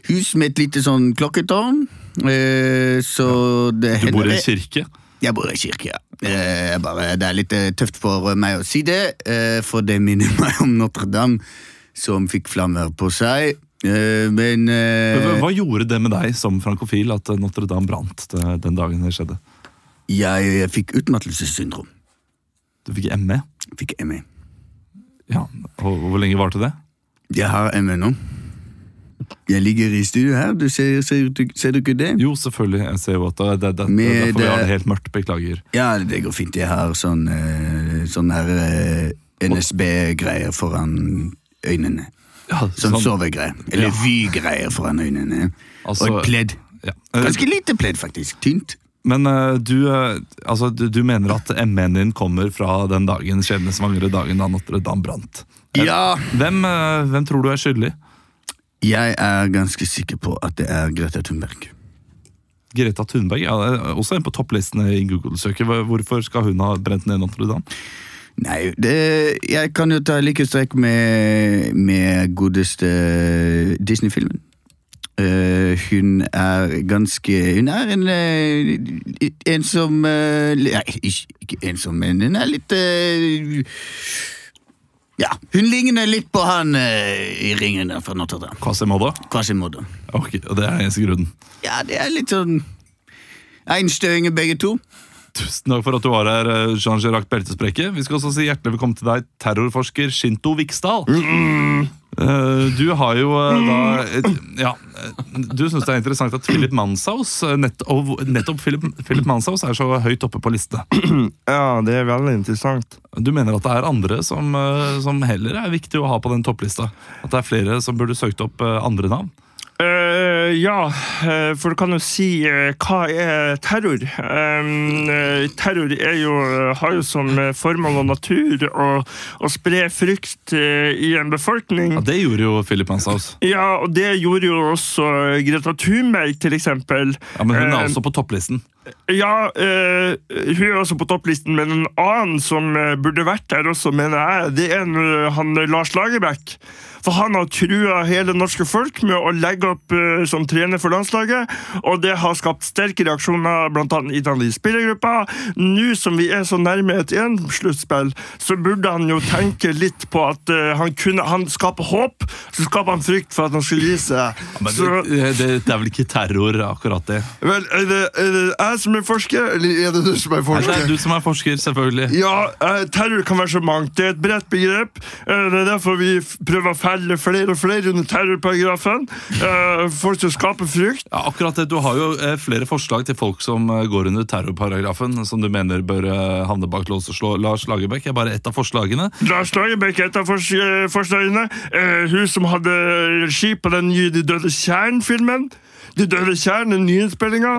Speaker 3: hus med et lite sånn klokketårn. Eh, så det
Speaker 1: Du bor i
Speaker 3: hender-
Speaker 1: en kirke.
Speaker 3: Jeg bor i kirke, ja. Eh, jeg bare, det er litt eh, tøft for meg å si det, eh, for det minner meg om Notre-Dame, som fikk flammer på seg. Eh, Men eh,
Speaker 1: Hva gjorde det med deg som frankofil at eh, Notre-Dame brant eh, den dagen det skjedde?
Speaker 3: jeg fikk utmattelsessyndrom.
Speaker 1: Du fikk E. ME.
Speaker 3: Fikk ME.
Speaker 1: Ja, og Hvor lenge varte det?
Speaker 3: Jeg har ME nå. Jeg ligger i studio her, du ser, ser, du, ser du ikke det?
Speaker 1: Jo, selvfølgelig. Jeg ser jo at det, det, det, det er
Speaker 3: Med-
Speaker 1: derfor vi har det helt mørkt. Beklager.
Speaker 3: Ja, det går fint. Jeg har sånn, eh, sånn her eh, NSB-greier foran øynene.
Speaker 1: Ja,
Speaker 3: Sånn
Speaker 1: sånn.
Speaker 3: sovegreier. Eller Vy-greier foran øynene.
Speaker 1: Altså-
Speaker 3: Og et pledd.
Speaker 1: Ja. Eh,
Speaker 3: Ganske lite pledd, faktisk. Tynt.
Speaker 1: Men eh, du, eh, altså, du, du mener at MN-en din kommer fra den dagen, skjebnesvangre dagen da Notre-Dame brant.
Speaker 3: Ja,
Speaker 1: Hvem, eh, hvem tror du er skyldig?
Speaker 3: jeg er ganske sikker på at det er Greta Thunberg.
Speaker 1: Greta Thunberg ja, det er også en på topplistene i Google-søket. Hva- Hvorfor skal hun ha brent ned Notre-Dame?
Speaker 3: Nei, det, jeg kan jo ta like strekk med, med godeste Disney-filmen. Eh, hun er ganske Hun er en eh, En som eh, li- Nei, ikke, ikke en som, men hun er litt eh, Ja, hun ligner litt på han eh, i Ringen der fra Notre-Dame.
Speaker 1: Quasimodo?
Speaker 3: Quasimodo.
Speaker 1: Ok, og det er den eneste grunnen.
Speaker 3: Ja, det er litt sånn Einstøinger, begge to.
Speaker 1: Tusen takk for at du var her, eh, Jean-Girac Beltesprekke. Vi skal også si hjertelig velkommen til deg, terrorforsker Shinto Viksdal. Eh, Du har jo eh, da et- Ja, eh, du syns det er interessant at Philip Manshaus eh, nett, og hvor- Nettopp Philip, Philip Manshaus er så høyt oppe på lista.
Speaker 2: Ja, det er veldig interessant.
Speaker 1: Du mener at det er andre som, eh, som heller er viktig å ha på den topplista? At det er flere som burde søkt opp eh, andre navn?
Speaker 5: Eh, ja, eh, for du kan jo si eh, hva er terror? Em, eh, terror er jo, har jo som eh, formål og natur å, å spre frykt eh, i en befolkning.
Speaker 1: Ja, Det gjorde jo Philip Manshaus.
Speaker 5: Ja, og det gjorde jo også Greta Thunberg, til eksempel.
Speaker 1: Ja, men hun er
Speaker 5: Eh,
Speaker 1: også på topplisten.
Speaker 5: Ja, eh, hun er også på topplisten, men en annen som eh, burde vært der også, mener jeg, det er nå han eh, Lars Lagerbäck. For han har trua hele det norske folk med å legge opp eh, som trener for landslaget, og det har skapt sterke reaksjoner blant annet i den lille spillergruppa. Nå som vi er så nærme et EM-sluttspill, så burde han jo tenke litt på at eh, han kunne Han skaper håp, så skaper han frykt for at han skulle gi seg.
Speaker 1: Men
Speaker 5: Så-
Speaker 1: det, det, det er vel ikke terror, akkurat det.
Speaker 2: Vel, er det, er det jeg som er forsker, eller er det du som er
Speaker 1: Nei, Det er
Speaker 2: forsker?
Speaker 1: du som er forsker, selvfølgelig.
Speaker 5: Ja, eh, terror kan være så mangt. Det er et bredt begrep. Eh, Det er derfor vi f- prøver å felle flere og flere under terrorparagrafen. Eh, Folk som skaper frykt.
Speaker 1: Ja, akkurat det. Du har jo eh, flere forslag til folk som eh, går under terrorparagrafen, som du mener bør eh, havne bak lås og slå. Lars Lagerbäck er bare ett av forslagene.
Speaker 5: Lars Lagerbäck er et av fors eh, forslagene. Eh, Hun som hadde regi på den nye De døde tjern-filmen. De døde tjern, den nyinnspillinga.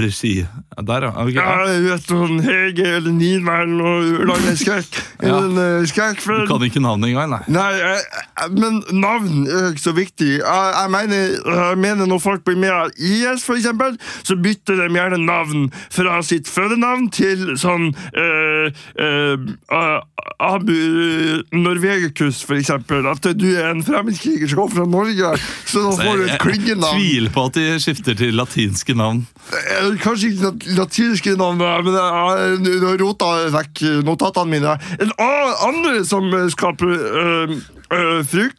Speaker 1: Regi. Ja, Der, ja. Ok,
Speaker 5: Ja,
Speaker 1: ja.
Speaker 5: hun vet sånn Hege eller Nina eller noe. Lager skrekk.
Speaker 1: Ja.
Speaker 2: En eh, skrekk
Speaker 1: Du
Speaker 2: for
Speaker 1: kan ikke navnet engang, nei.
Speaker 2: Nei, jeg, jeg- men navn er ikke så viktig. Jeg, jeg, mener,
Speaker 5: Jeg mener Når folk blir med av IS, for eksempel, så bytter de gjerne navn fra sitt fødenavn til sånn eh, eh, A- Abu Norvegicus, for eksempel. At du er en fremmedkriger som kommer fra Norge, så da får du et klyngenavn.
Speaker 1: tviler på at de skifter til latinske navn.
Speaker 2: eh, kanskje ikke lat- latinske navn, men jeg har rota vekk notatene mine.
Speaker 5: En annen andre som eh, skaper eh, eh, frykt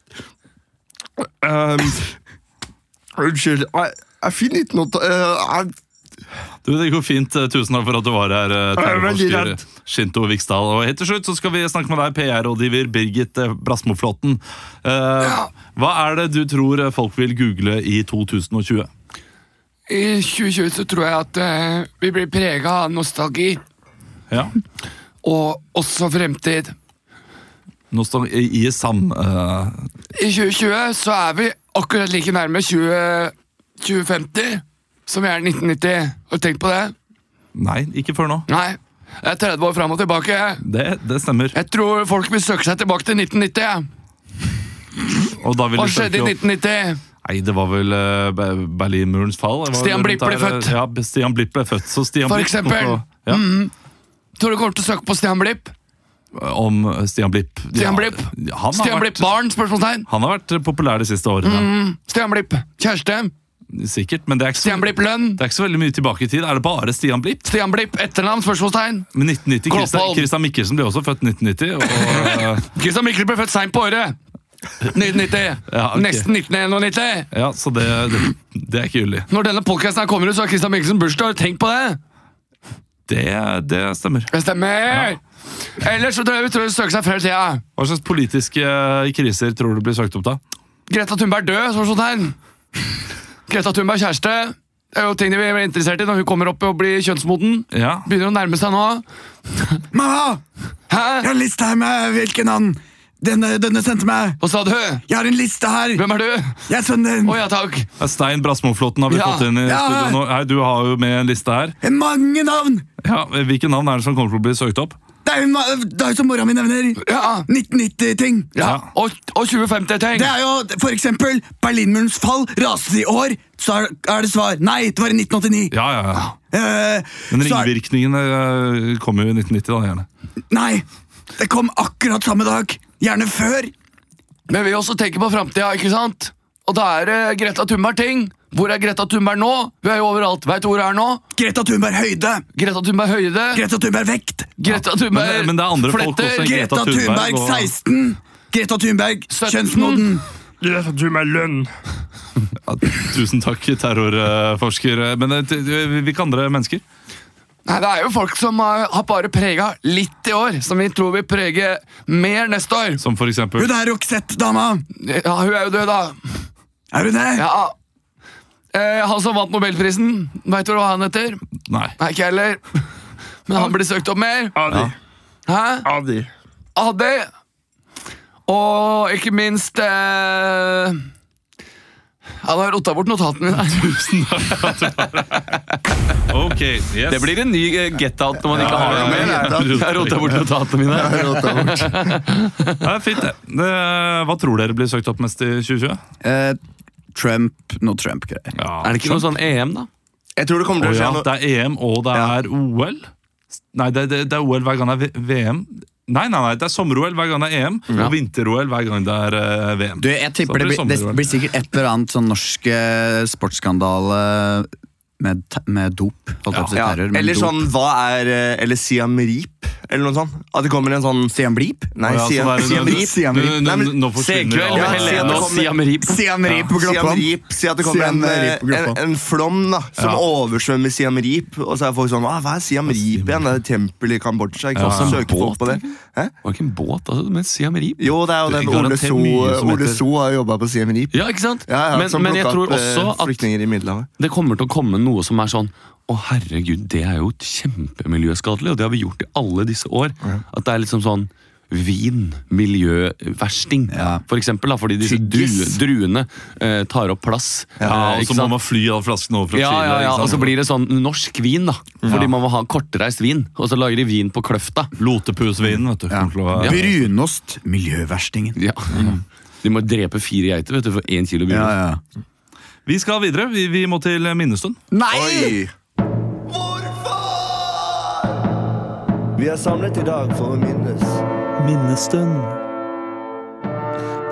Speaker 2: Um, unnskyld, jeg, jeg finner ikke noe eh, jeg-
Speaker 1: Du, Det går fint. Eh, Tusen takk for at du var her, eh,
Speaker 5: Jeg er veldig
Speaker 1: terrorforsker
Speaker 5: redd.
Speaker 1: Shinto Viksdal. Og helt til slutt så skal vi snakke med deg, PR-rådgiver Birgit eh, Brasmoflåten. Eh, Hva er det du tror eh, folk vil google i 2020?
Speaker 6: I 2020 så tror jeg at eh, vi blir prega av nostalgi,
Speaker 1: Ja,
Speaker 6: og også fremtid.
Speaker 1: nå står i, i sam... eh,
Speaker 6: I 2020 så er vi akkurat like nærme 20, 2050 som vi er 1990. Har du tenkt på det?
Speaker 1: nei, ikke før nå.
Speaker 6: Nei. Det er 30 år fram og tilbake.
Speaker 1: Det, det stemmer.
Speaker 6: Jeg tror folk vil søke seg tilbake til 1990.
Speaker 1: Og da vil
Speaker 6: Hva
Speaker 1: du søke
Speaker 6: skjedde i
Speaker 1: opp-
Speaker 6: 1990?
Speaker 1: Nei, det var vel eh, Be- Berlinmurens fall. Det var
Speaker 6: Stian
Speaker 1: rundt
Speaker 6: Blipp ble
Speaker 1: der, eh,
Speaker 6: født.
Speaker 1: Ja, Stian Blipp ble født. Så Stian
Speaker 6: For
Speaker 1: Blipp
Speaker 6: eksempel. Mm.
Speaker 1: kom på- Ja,
Speaker 6: Tror du kommer til å søke på Stian Blipp?
Speaker 1: Om eh, Stian Blipp.
Speaker 6: Stian Blipp?
Speaker 1: Ja, han, har
Speaker 6: Stian
Speaker 1: vært,
Speaker 6: Blipp barn? Spørsmålstegn.
Speaker 1: han har vært populær de siste årene.
Speaker 6: Stian Blipp kjæreste?
Speaker 1: Sikkert, men det er, ikke så,
Speaker 6: Mm. Stian Blipp lønn?
Speaker 1: det er ikke så veldig mye tilbake i tid. Er det bare Stian Blipp?
Speaker 6: Stian Blipp etternavn? Spørsmålstegn.
Speaker 1: Men 1990, Christian,
Speaker 6: Kloppholm.
Speaker 1: Christian Mikkelsen ble også født 1990. Og, eh,
Speaker 6: Christian Mikkel ble født seint på året. 1990.
Speaker 1: Ja, ok.
Speaker 6: Nesten 1991.
Speaker 1: ja, så det, det, det er ikke gyldig.
Speaker 6: Når denne podkasten kommer ut, så har Christian Mikkelsen bursdag. Tenk på det!
Speaker 1: Det, det stemmer.
Speaker 6: Det stemmer! Ellers så tror jeg vi tror det søker seg frem i tida. eh,
Speaker 1: Hva slags politiske kriser tror du blir søkt opp da?
Speaker 6: Greta Thunberg død, sånn spørsmålstegn. Greta Thunberg kjæreste. Det er jo ting de er interessert i når hun kommer opp og blir kjønnsmoden.
Speaker 1: Ja.
Speaker 6: Begynner å nærme seg nå.
Speaker 3: Mamma! Jeg
Speaker 6: Hæ?
Speaker 3: har en liste her med hvilken han denne, denne sendte meg.
Speaker 6: Hva sa du?
Speaker 3: Jeg har en liste her.
Speaker 6: Hvem er du?
Speaker 3: Jeg er sønnen din.
Speaker 6: Å ja, takk.
Speaker 1: Ja, Stein Brasmoflåten har vi
Speaker 6: Ja.
Speaker 1: fått inn i
Speaker 3: Ja.
Speaker 1: studio nå. Hei, du har jo med en liste her.
Speaker 3: Mange navn!
Speaker 1: Ja, Hvilke navn er det som kommer til å bli søkt opp?
Speaker 3: Det er jo ma- det er jo som mora mi nevner.
Speaker 6: Ja.
Speaker 3: 1990-ting.
Speaker 1: Ja.
Speaker 6: Og, og 2050-ting.
Speaker 3: Det er jo for eksempel Berlinmurens fall raset i år. Så er, er det svar. Nei, det var i 1989.
Speaker 1: Ja, ja, ja.
Speaker 3: Eh,
Speaker 1: Men
Speaker 3: så er-
Speaker 1: ringvirkningene eh, kommer jo i 1990, da. gjerne.
Speaker 3: Nei, det kom akkurat samme dag. Gjerne før.
Speaker 6: Men vi også tenker på framtida, ikke sant? Og da er det Greta Thunberg-ting. Hvor er Greta Thunberg nå? Hun er jo overalt. Veit du hvor hun er nå?
Speaker 3: Greta Thunberg høyde.
Speaker 6: Greta Thunberg høyde.
Speaker 3: Greta Thunberg vekt.
Speaker 6: Greta Thunberg
Speaker 1: Men- men det er andre folk
Speaker 6: fletter.
Speaker 1: også, ikke?
Speaker 3: Greta
Speaker 1: Greta Thunberg
Speaker 3: Thunberg
Speaker 1: og-
Speaker 3: 16. Greta Thunberg
Speaker 6: 17.
Speaker 3: kjønnsmoden.
Speaker 5: Greta Thunberg lønn.
Speaker 1: Tusen takk, terrorforsker. Men eh, t- hvilke andre mennesker?
Speaker 6: Nei, Det er jo folk som eh, har, har bare prega litt i år, som vi tror vil prege mer neste år.
Speaker 1: Som for eksempel
Speaker 3: Hun er Roxette-dama.
Speaker 6: Ja, Hun er jo død, da.
Speaker 3: Er hun det?
Speaker 6: Ja. Eh, han som vant nobelprisen, veit du hva han heter?
Speaker 1: Nei.
Speaker 6: Nei, ikke jeg heller. Men han blir søkt opp mer.
Speaker 5: Adi.
Speaker 6: Hæ?
Speaker 5: Adi.
Speaker 6: AD. Og ikke minst eh, Han har rota bort notatene mine.
Speaker 1: Ok, yes.
Speaker 4: Det blir en ny eh, get out når man ikke har noe mer.
Speaker 1: Rota-
Speaker 4: Jeg rota bort notatene mine.
Speaker 1: Ja, fint, det. det. Hva tror dere blir søkt opp mest i 2020?
Speaker 3: Eh, Trump, no Trump-greier.
Speaker 1: Ja.
Speaker 4: Er det ikke noe sånn EM, da?
Speaker 2: Jeg tror det
Speaker 1: Å
Speaker 2: kommer til å skje
Speaker 1: ja,
Speaker 2: noe.
Speaker 1: det er EM, og det
Speaker 2: Ja.
Speaker 1: er OL? Nei, det, det, det er OL hver gang det er V- VM. Nei, nei, nei, det er sommer-OL hver gang det er EM, og vinter-OL hver gang det er eh, VM.
Speaker 3: Du, jeg tipper
Speaker 1: Så
Speaker 3: det blir, det
Speaker 1: sommer-OL.
Speaker 3: blir sikkert et eller annet sånn norsk eh, sportsskandale med, te- med dop. Holdt jeg på å si
Speaker 2: Ja,
Speaker 3: terror, men
Speaker 2: eller
Speaker 3: dop.
Speaker 2: sånn hva er eh, Eller Siam Reap, eller noe sånt. At det kommer en sånn
Speaker 3: Stian Blipp?
Speaker 2: Nei,
Speaker 1: Å ja, så
Speaker 2: Siam,
Speaker 1: det er-
Speaker 2: Siam Reap. Siam
Speaker 1: Nå-
Speaker 2: Reap.
Speaker 1: nå-
Speaker 2: Nei, men-
Speaker 1: Nå forsvinner
Speaker 4: Senkveld med
Speaker 2: Ja, si at
Speaker 4: Helene
Speaker 2: det
Speaker 4: og
Speaker 2: kommer-
Speaker 4: Siam Reap.
Speaker 3: Stian Riip på
Speaker 2: Siam
Speaker 3: Gloppan.
Speaker 2: Reap. Si at det kommer
Speaker 3: Siam
Speaker 2: en, eh,
Speaker 3: Reap på Gloppa.
Speaker 2: en, en flom da, som
Speaker 1: Ja.
Speaker 2: oversvømmer Siam Reap, og så er folk sånn «Ah, Hva er Siam Reap igjen? Det er et tempel i Kambodsja. Ikke
Speaker 1: Ja.
Speaker 2: sant?
Speaker 4: Som
Speaker 2: Søker folk
Speaker 4: båt,
Speaker 2: på det. Hæ?
Speaker 4: Var det ikke en båt, altså, men Siam Reap?
Speaker 2: Jo, det er jo
Speaker 1: Det er
Speaker 2: den Ole
Speaker 1: garantert
Speaker 2: So, eh,
Speaker 1: mye som
Speaker 2: Ole
Speaker 1: heter-
Speaker 2: so har jobba på Siam Reap.
Speaker 4: Ja, ikke sant?
Speaker 2: Ja, ja,
Speaker 4: men,
Speaker 2: som
Speaker 4: men jeg
Speaker 2: plukket
Speaker 4: tror
Speaker 2: opp, eh,
Speaker 4: også at
Speaker 2: flyktninger i Middelhavet.
Speaker 4: det kommer til å komme noe som er sånn Å, herregud, det er jo kjempemiljøskadelig, og det har vi gjort i alle disse år. At det er liksom sånn Vin, miljøversting,
Speaker 3: Ja.
Speaker 4: for eksempel. Da, fordi disse drue,
Speaker 3: Tyggis.
Speaker 4: druene eh, tar opp plass.
Speaker 1: Ja,
Speaker 4: eh,
Speaker 1: og så
Speaker 4: ikke
Speaker 1: må
Speaker 4: sant?
Speaker 1: man fly all flasken over fra
Speaker 4: ja,
Speaker 1: Chile.
Speaker 4: ja, ja,
Speaker 1: ikke sant?
Speaker 4: og så blir det sånn norsk vin, da. Fordi man må ha kortreist vin. Og så lager de vin på Kløfta.
Speaker 1: Lotepusvinen, vet du. kommer til å-
Speaker 3: Brunost, miljøverstingen.
Speaker 4: Ja. Mm. De må drepe fire geiter vet du, for én kilo
Speaker 3: Ja,
Speaker 4: brunost.
Speaker 3: ja.
Speaker 1: Vi skal videre. Vi, vi må til minnestund.
Speaker 2: Oi! Hvorfor? Vi er samlet i dag for å minnes.
Speaker 7: Vi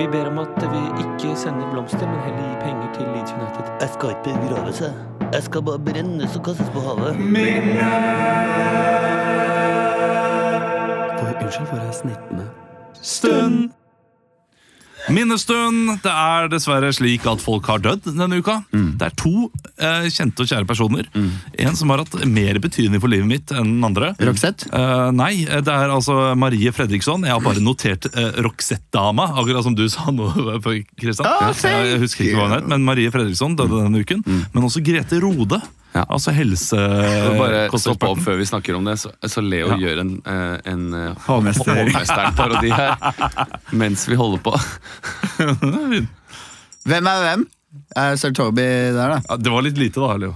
Speaker 7: ber om at vi ikke sender blomster, men heller gir penger til Leeds United.
Speaker 8: Jeg skal ikke begravelse. Jeg skal bare brennes og kastes på havet.
Speaker 7: For, unnskyld for jeg snittene.
Speaker 1: Minnestund! Det er dessverre slik at folk har dødd denne uka. Det er to eh, kjente og kjære personer. En som har hatt mer betydning for livet mitt enn den andre.
Speaker 3: Roxette?
Speaker 1: Eh, nei, det er altså Marie Fredriksson. Jeg har bare notert eh, Roxette-dama, akkurat som du sa nå. for Kristian. Eh, jeg husker ikke hva hun het, men Marie Fredriksson døde denne uken. Men også Grete Rode.
Speaker 4: Mm. Ja.
Speaker 1: Altså
Speaker 4: Får Bare stopp opp
Speaker 1: helsekonsultanten.
Speaker 4: før vi snakker om det, så, så Leo
Speaker 1: Ja.
Speaker 4: gjør en, eh, en eh, Hovmesteren-parodi her mens vi holder på.
Speaker 3: Hvem er hvem? Er Sir Toby der, da?
Speaker 1: Ja, det var litt lite, da, Leo.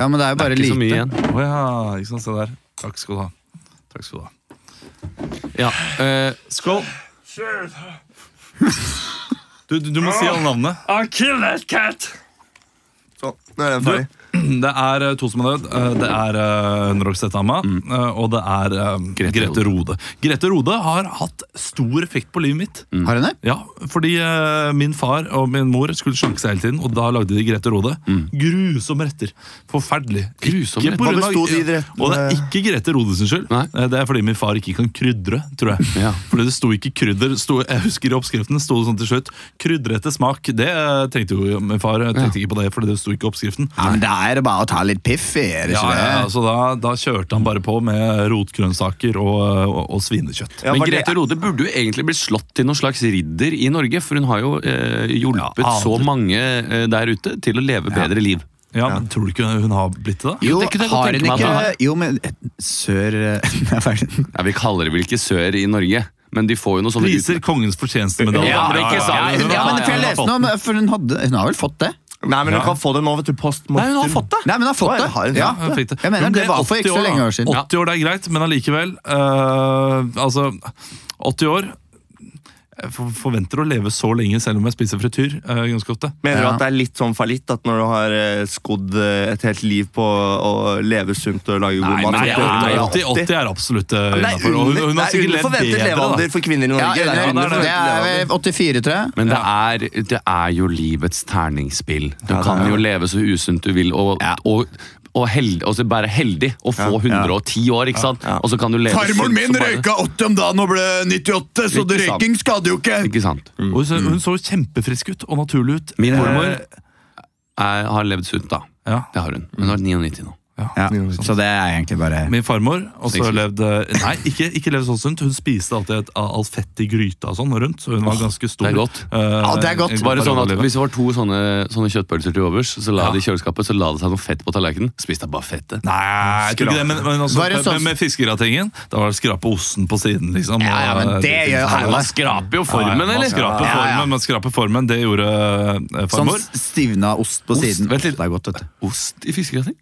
Speaker 3: Ja, men det er jo bare
Speaker 4: Ikke så mye
Speaker 3: lite.
Speaker 4: igjen.
Speaker 1: Å ja, ikke sant, se der. Takk skal du ha. Takk skal du ha.
Speaker 4: Ja, eh,
Speaker 1: Skål! Du, du, du må si alle navnene.
Speaker 5: I kill that cat!
Speaker 2: Sånn, nå er den
Speaker 1: Du,
Speaker 2: ferdig.
Speaker 1: det er eh, to som er død. Eh, Det er eh, Roxette Amma, eh, og det er eh,
Speaker 4: Mm. Grete
Speaker 1: Grete, Rode. Grete Rode har hatt stor effekt på livet mitt.
Speaker 4: Mm.
Speaker 3: Har hun det?
Speaker 1: Ja, fordi eh, min far og min mor skulle slanke seg hele tiden, og da lagde de Grete Rode. Grusomme retter. Forferdelig.
Speaker 4: Grusomme
Speaker 1: Ikke på grunn
Speaker 2: retter. Hva
Speaker 1: av-
Speaker 2: bestod de rettene-
Speaker 1: Og det er ikke Grete Rode sin skyld.
Speaker 4: Nei.
Speaker 1: Eh, Det er fordi min far ikke kan krydre, tror jeg.
Speaker 4: Ja.
Speaker 1: Fordi det sto ikke krydder. Sto, jeg husker i oppskriften sto det sånn til slutt. Krydre etter smak. Det eh, tenkte jo min far. Jeg Tenkte ikke på det, fordi det sto ikke i oppskriften.
Speaker 3: Ja, men det er er det bare å ta litt piff i, er det
Speaker 1: Ja,
Speaker 3: ikke det?
Speaker 1: ja, ja, så da, da kjørte han bare på med rotgrønnsaker og, og, og svinekjøtt.
Speaker 2: Ja,
Speaker 4: Men
Speaker 2: var det-
Speaker 4: Grete Rode burde jo egentlig bli slått til noen slags ridder i Norge, for hun har jo eh, hjulpet
Speaker 1: Ja,
Speaker 4: så
Speaker 1: aldri.
Speaker 4: mange eh, der ute til å leve bedre liv.
Speaker 1: Ja, men Tror du ikke hun har blitt det? da?
Speaker 3: Jo,
Speaker 4: Det kunne jeg godt
Speaker 3: har
Speaker 4: tenke
Speaker 3: hun
Speaker 4: meg at
Speaker 3: ikke
Speaker 4: han
Speaker 3: Jo, men eh, sør Nei, ferdig.
Speaker 4: Ja, Vi kaller det vel ikke sør i Norge, men de får jo noe sånne
Speaker 1: Priser kongens fortjenstemedalje.
Speaker 4: Ja, men ikke sant.
Speaker 1: Ja, ja, ja.
Speaker 3: Ja, men for jeg leste noe om For hun hadde Hun har vel fått det?
Speaker 2: Nei, men hun kan få det nå, vet du. Post mortem.
Speaker 1: Nei, hun har fått det.
Speaker 3: Nei, men hun har fått
Speaker 2: Ja,
Speaker 3: det!
Speaker 2: har hun
Speaker 3: Ja,
Speaker 2: fått
Speaker 1: Hun fikk det.
Speaker 3: jeg mener
Speaker 1: Hun
Speaker 3: det
Speaker 1: ble
Speaker 3: var for ikke
Speaker 1: 80
Speaker 3: så lenge
Speaker 1: da.
Speaker 3: år siden.
Speaker 1: 80 år, det er greit, men allikevel. eh, altså, 80 år Jeg for- forventer å leve så lenge selv om jeg spiser frityr eh, ganske ofte.
Speaker 2: Mener du
Speaker 3: Ja.
Speaker 2: at det er litt sånn fallitt at når du har eh, skodd eh, et helt liv på å leve sunt og lage god mat
Speaker 1: Nei,
Speaker 2: så dør du når du er
Speaker 1: 80, 80 er absolutt eh,
Speaker 2: Nei,
Speaker 1: innenfor, og
Speaker 2: under-
Speaker 1: Hun, hun
Speaker 2: nei,
Speaker 1: har sikkert
Speaker 2: under
Speaker 1: levd
Speaker 2: forventet
Speaker 1: bedre, da.
Speaker 2: levealder for kvinner i Norge.
Speaker 3: Ja,
Speaker 2: det
Speaker 3: under-
Speaker 2: er under
Speaker 3: det
Speaker 2: forventet
Speaker 3: er
Speaker 2: levealder.
Speaker 3: vel 84, tror jeg.
Speaker 4: Men det, er, det er jo livets terningsspill. Du
Speaker 2: det
Speaker 4: kan
Speaker 2: er
Speaker 4: jo
Speaker 2: det.
Speaker 4: leve så usunt du vil, og, og, og, held, og så bare heldig å få 110 år, ikke sant? Og så kan du leve sunt som bare-
Speaker 3: 80 om dagen og ble 98,
Speaker 4: så det røyking
Speaker 3: skader jo
Speaker 4: Ikke sant?
Speaker 1: Og hun, så- hun
Speaker 3: Mm.
Speaker 1: så kjempefrisk ut og naturlig ut.
Speaker 4: Min
Speaker 1: Eh,
Speaker 4: mormor er, har levd sunt, da.
Speaker 1: Ja.
Speaker 4: Det har hun. Hun har vært 99 nå.
Speaker 3: Ja, så det er egentlig bare
Speaker 1: Min farmor også
Speaker 4: Sexy.
Speaker 1: levde Nei, ikke, ikke levde så sunt. Hun spiste alltid et, all fett i gryta og sånn rundt, så hun var ganske stor.
Speaker 4: det er godt.
Speaker 1: Eh,
Speaker 3: det er godt.
Speaker 1: en
Speaker 4: Bare sånn at
Speaker 1: periode.
Speaker 4: Hvis det var to sånne, sånne kjøttpølser til overs, så la
Speaker 1: Ja.
Speaker 4: det i kjøleskapet, så la det seg noe fett på tallerkenen. Spiste jeg bare fettet.
Speaker 1: Nei, jeg tror ikke det, men, altså, men også,
Speaker 3: Var det sånn-
Speaker 1: med, med fiskegratingen. Da var det skrape osten på siden, liksom.
Speaker 3: Ja, ja, men
Speaker 1: og, eh,
Speaker 3: det
Speaker 1: de
Speaker 3: gjør
Speaker 1: tingene.
Speaker 3: alle.
Speaker 4: Man skraper jo
Speaker 1: Ja, ja,
Speaker 4: formen,
Speaker 1: Man
Speaker 4: eller?
Speaker 1: skraper
Speaker 3: Ja, ja.
Speaker 1: formen, man skraper formen. Det gjorde eh,
Speaker 3: Sånn
Speaker 1: farmor.
Speaker 3: stivna ost på siden.
Speaker 4: vent litt.
Speaker 3: Det er godt, vet du.
Speaker 4: Ost i fiskegrating?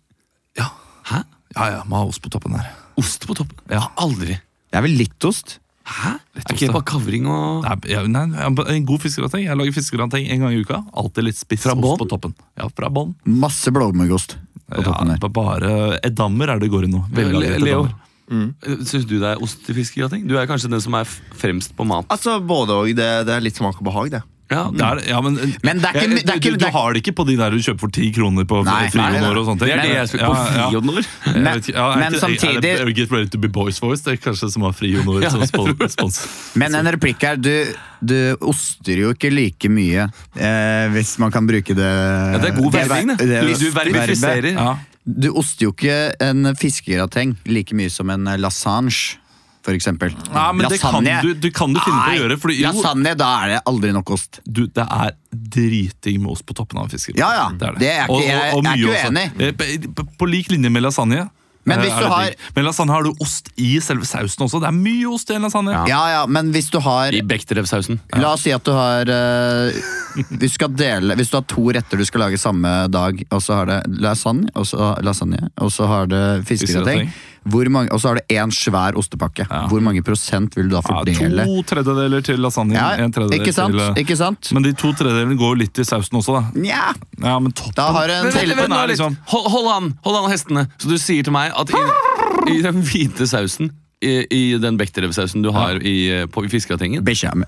Speaker 4: Hæ?
Speaker 1: Ja, ja, man har ost på toppen der.
Speaker 4: Ost på toppen? Ja, aldri.
Speaker 3: Det er vel litt ost?
Speaker 4: Hæ? Er ikke det bare kavring og
Speaker 1: Nei, ja, nei, en god fiskegrateng. Jeg lager fiskegrateng en gang i uka. Alltid litt spiss
Speaker 4: Fra
Speaker 1: ost
Speaker 4: bånn?
Speaker 1: på toppen. Ja, fra bånn.
Speaker 3: Masse blåmuggost på toppen
Speaker 1: Ja,
Speaker 3: der.
Speaker 1: bare edammer er det går i nå. Veldig
Speaker 4: Le-
Speaker 1: lite
Speaker 4: Leo,
Speaker 1: edammer.
Speaker 4: syns Eh, du det er ost i fiskegrating? Du er kanskje den som er f- fremst på mat.
Speaker 2: Altså, både og. Det, det er litt smak og behag, det.
Speaker 4: Ja,
Speaker 1: Det er, ja, men,
Speaker 3: Mm.
Speaker 1: eh,
Speaker 3: Men det er ikke-
Speaker 1: Jeg-
Speaker 3: det er ikke-
Speaker 1: du,
Speaker 3: det
Speaker 1: du
Speaker 3: er-
Speaker 1: har det ikke på de der du kjøper for ti kroner på
Speaker 3: Nei, nei,
Speaker 1: Frionor
Speaker 3: nei.
Speaker 1: og sånne ting.
Speaker 4: Det er det jeg skulle på
Speaker 1: Ja, ja.
Speaker 4: frionor.
Speaker 1: Jeg
Speaker 3: Men-
Speaker 1: vet ikke, ja, er
Speaker 3: men
Speaker 1: ikke- er det-
Speaker 3: samtidig-
Speaker 1: er det Get ready to be boys voice. Det er kanskje som har frionor som spon- spons.
Speaker 3: Men en replikk her. Du, du oster jo ikke like mye, eh, hvis man kan bruke det
Speaker 4: Ja, det er god verving, det.
Speaker 3: det-
Speaker 4: Du verifiserer.
Speaker 1: Ja.
Speaker 3: Du oster jo ikke en fiskegrateng like mye som en lasange, for eksempel.
Speaker 1: Nei, men det kan du, du kan du finne på å gjøre. Fordi, jo,
Speaker 3: lasagne, da er det aldri nok ost.
Speaker 1: du, det er driting med ost på toppen av en fiskegrateng.
Speaker 3: Ja, ja. Det er ikke- jeg- jeg er
Speaker 1: mye
Speaker 3: ikke
Speaker 1: også. Eh, På, på lik linje med lasagne.
Speaker 3: Men
Speaker 1: eh,
Speaker 3: hvis
Speaker 1: er
Speaker 3: du
Speaker 1: det
Speaker 3: har-
Speaker 1: digg. Med lasagne har du ost i selve sausen også. Det er mye ost i en lasagne.
Speaker 3: Ja, ja, men hvis du har
Speaker 4: I Bechterew-sausen.
Speaker 3: La oss si at du har eh, hvis, du skal dele, hvis du har to retter du skal lage samme dag, og så har det lasagne, og så, lasagne, og så har det fiskegrateng,
Speaker 1: Fiskegrateng.
Speaker 3: hvor mange- og så har det én svær ostepakke, hvor mange prosent vil du
Speaker 1: Ja,
Speaker 3: da fordele?
Speaker 1: to tredjedeler til lasagne.
Speaker 3: Ja,
Speaker 1: en tredjedel
Speaker 3: ikke sant?
Speaker 1: Til, eh,
Speaker 3: Ikke sant?
Speaker 1: Men de to tredjedelene går jo litt i sausen også, da.
Speaker 3: Nja,
Speaker 1: Ja, men toppen
Speaker 3: da har du en
Speaker 1: vent,
Speaker 3: til.
Speaker 1: vent, nå litt.
Speaker 3: Liksom.
Speaker 4: Hold, hold an, hold an hestene. Så du sier til meg at i, i den hvite sausen, i, i den Bechterew-sausen du har i, eh, på, i fiskegratengen,
Speaker 3: Bikkja mi.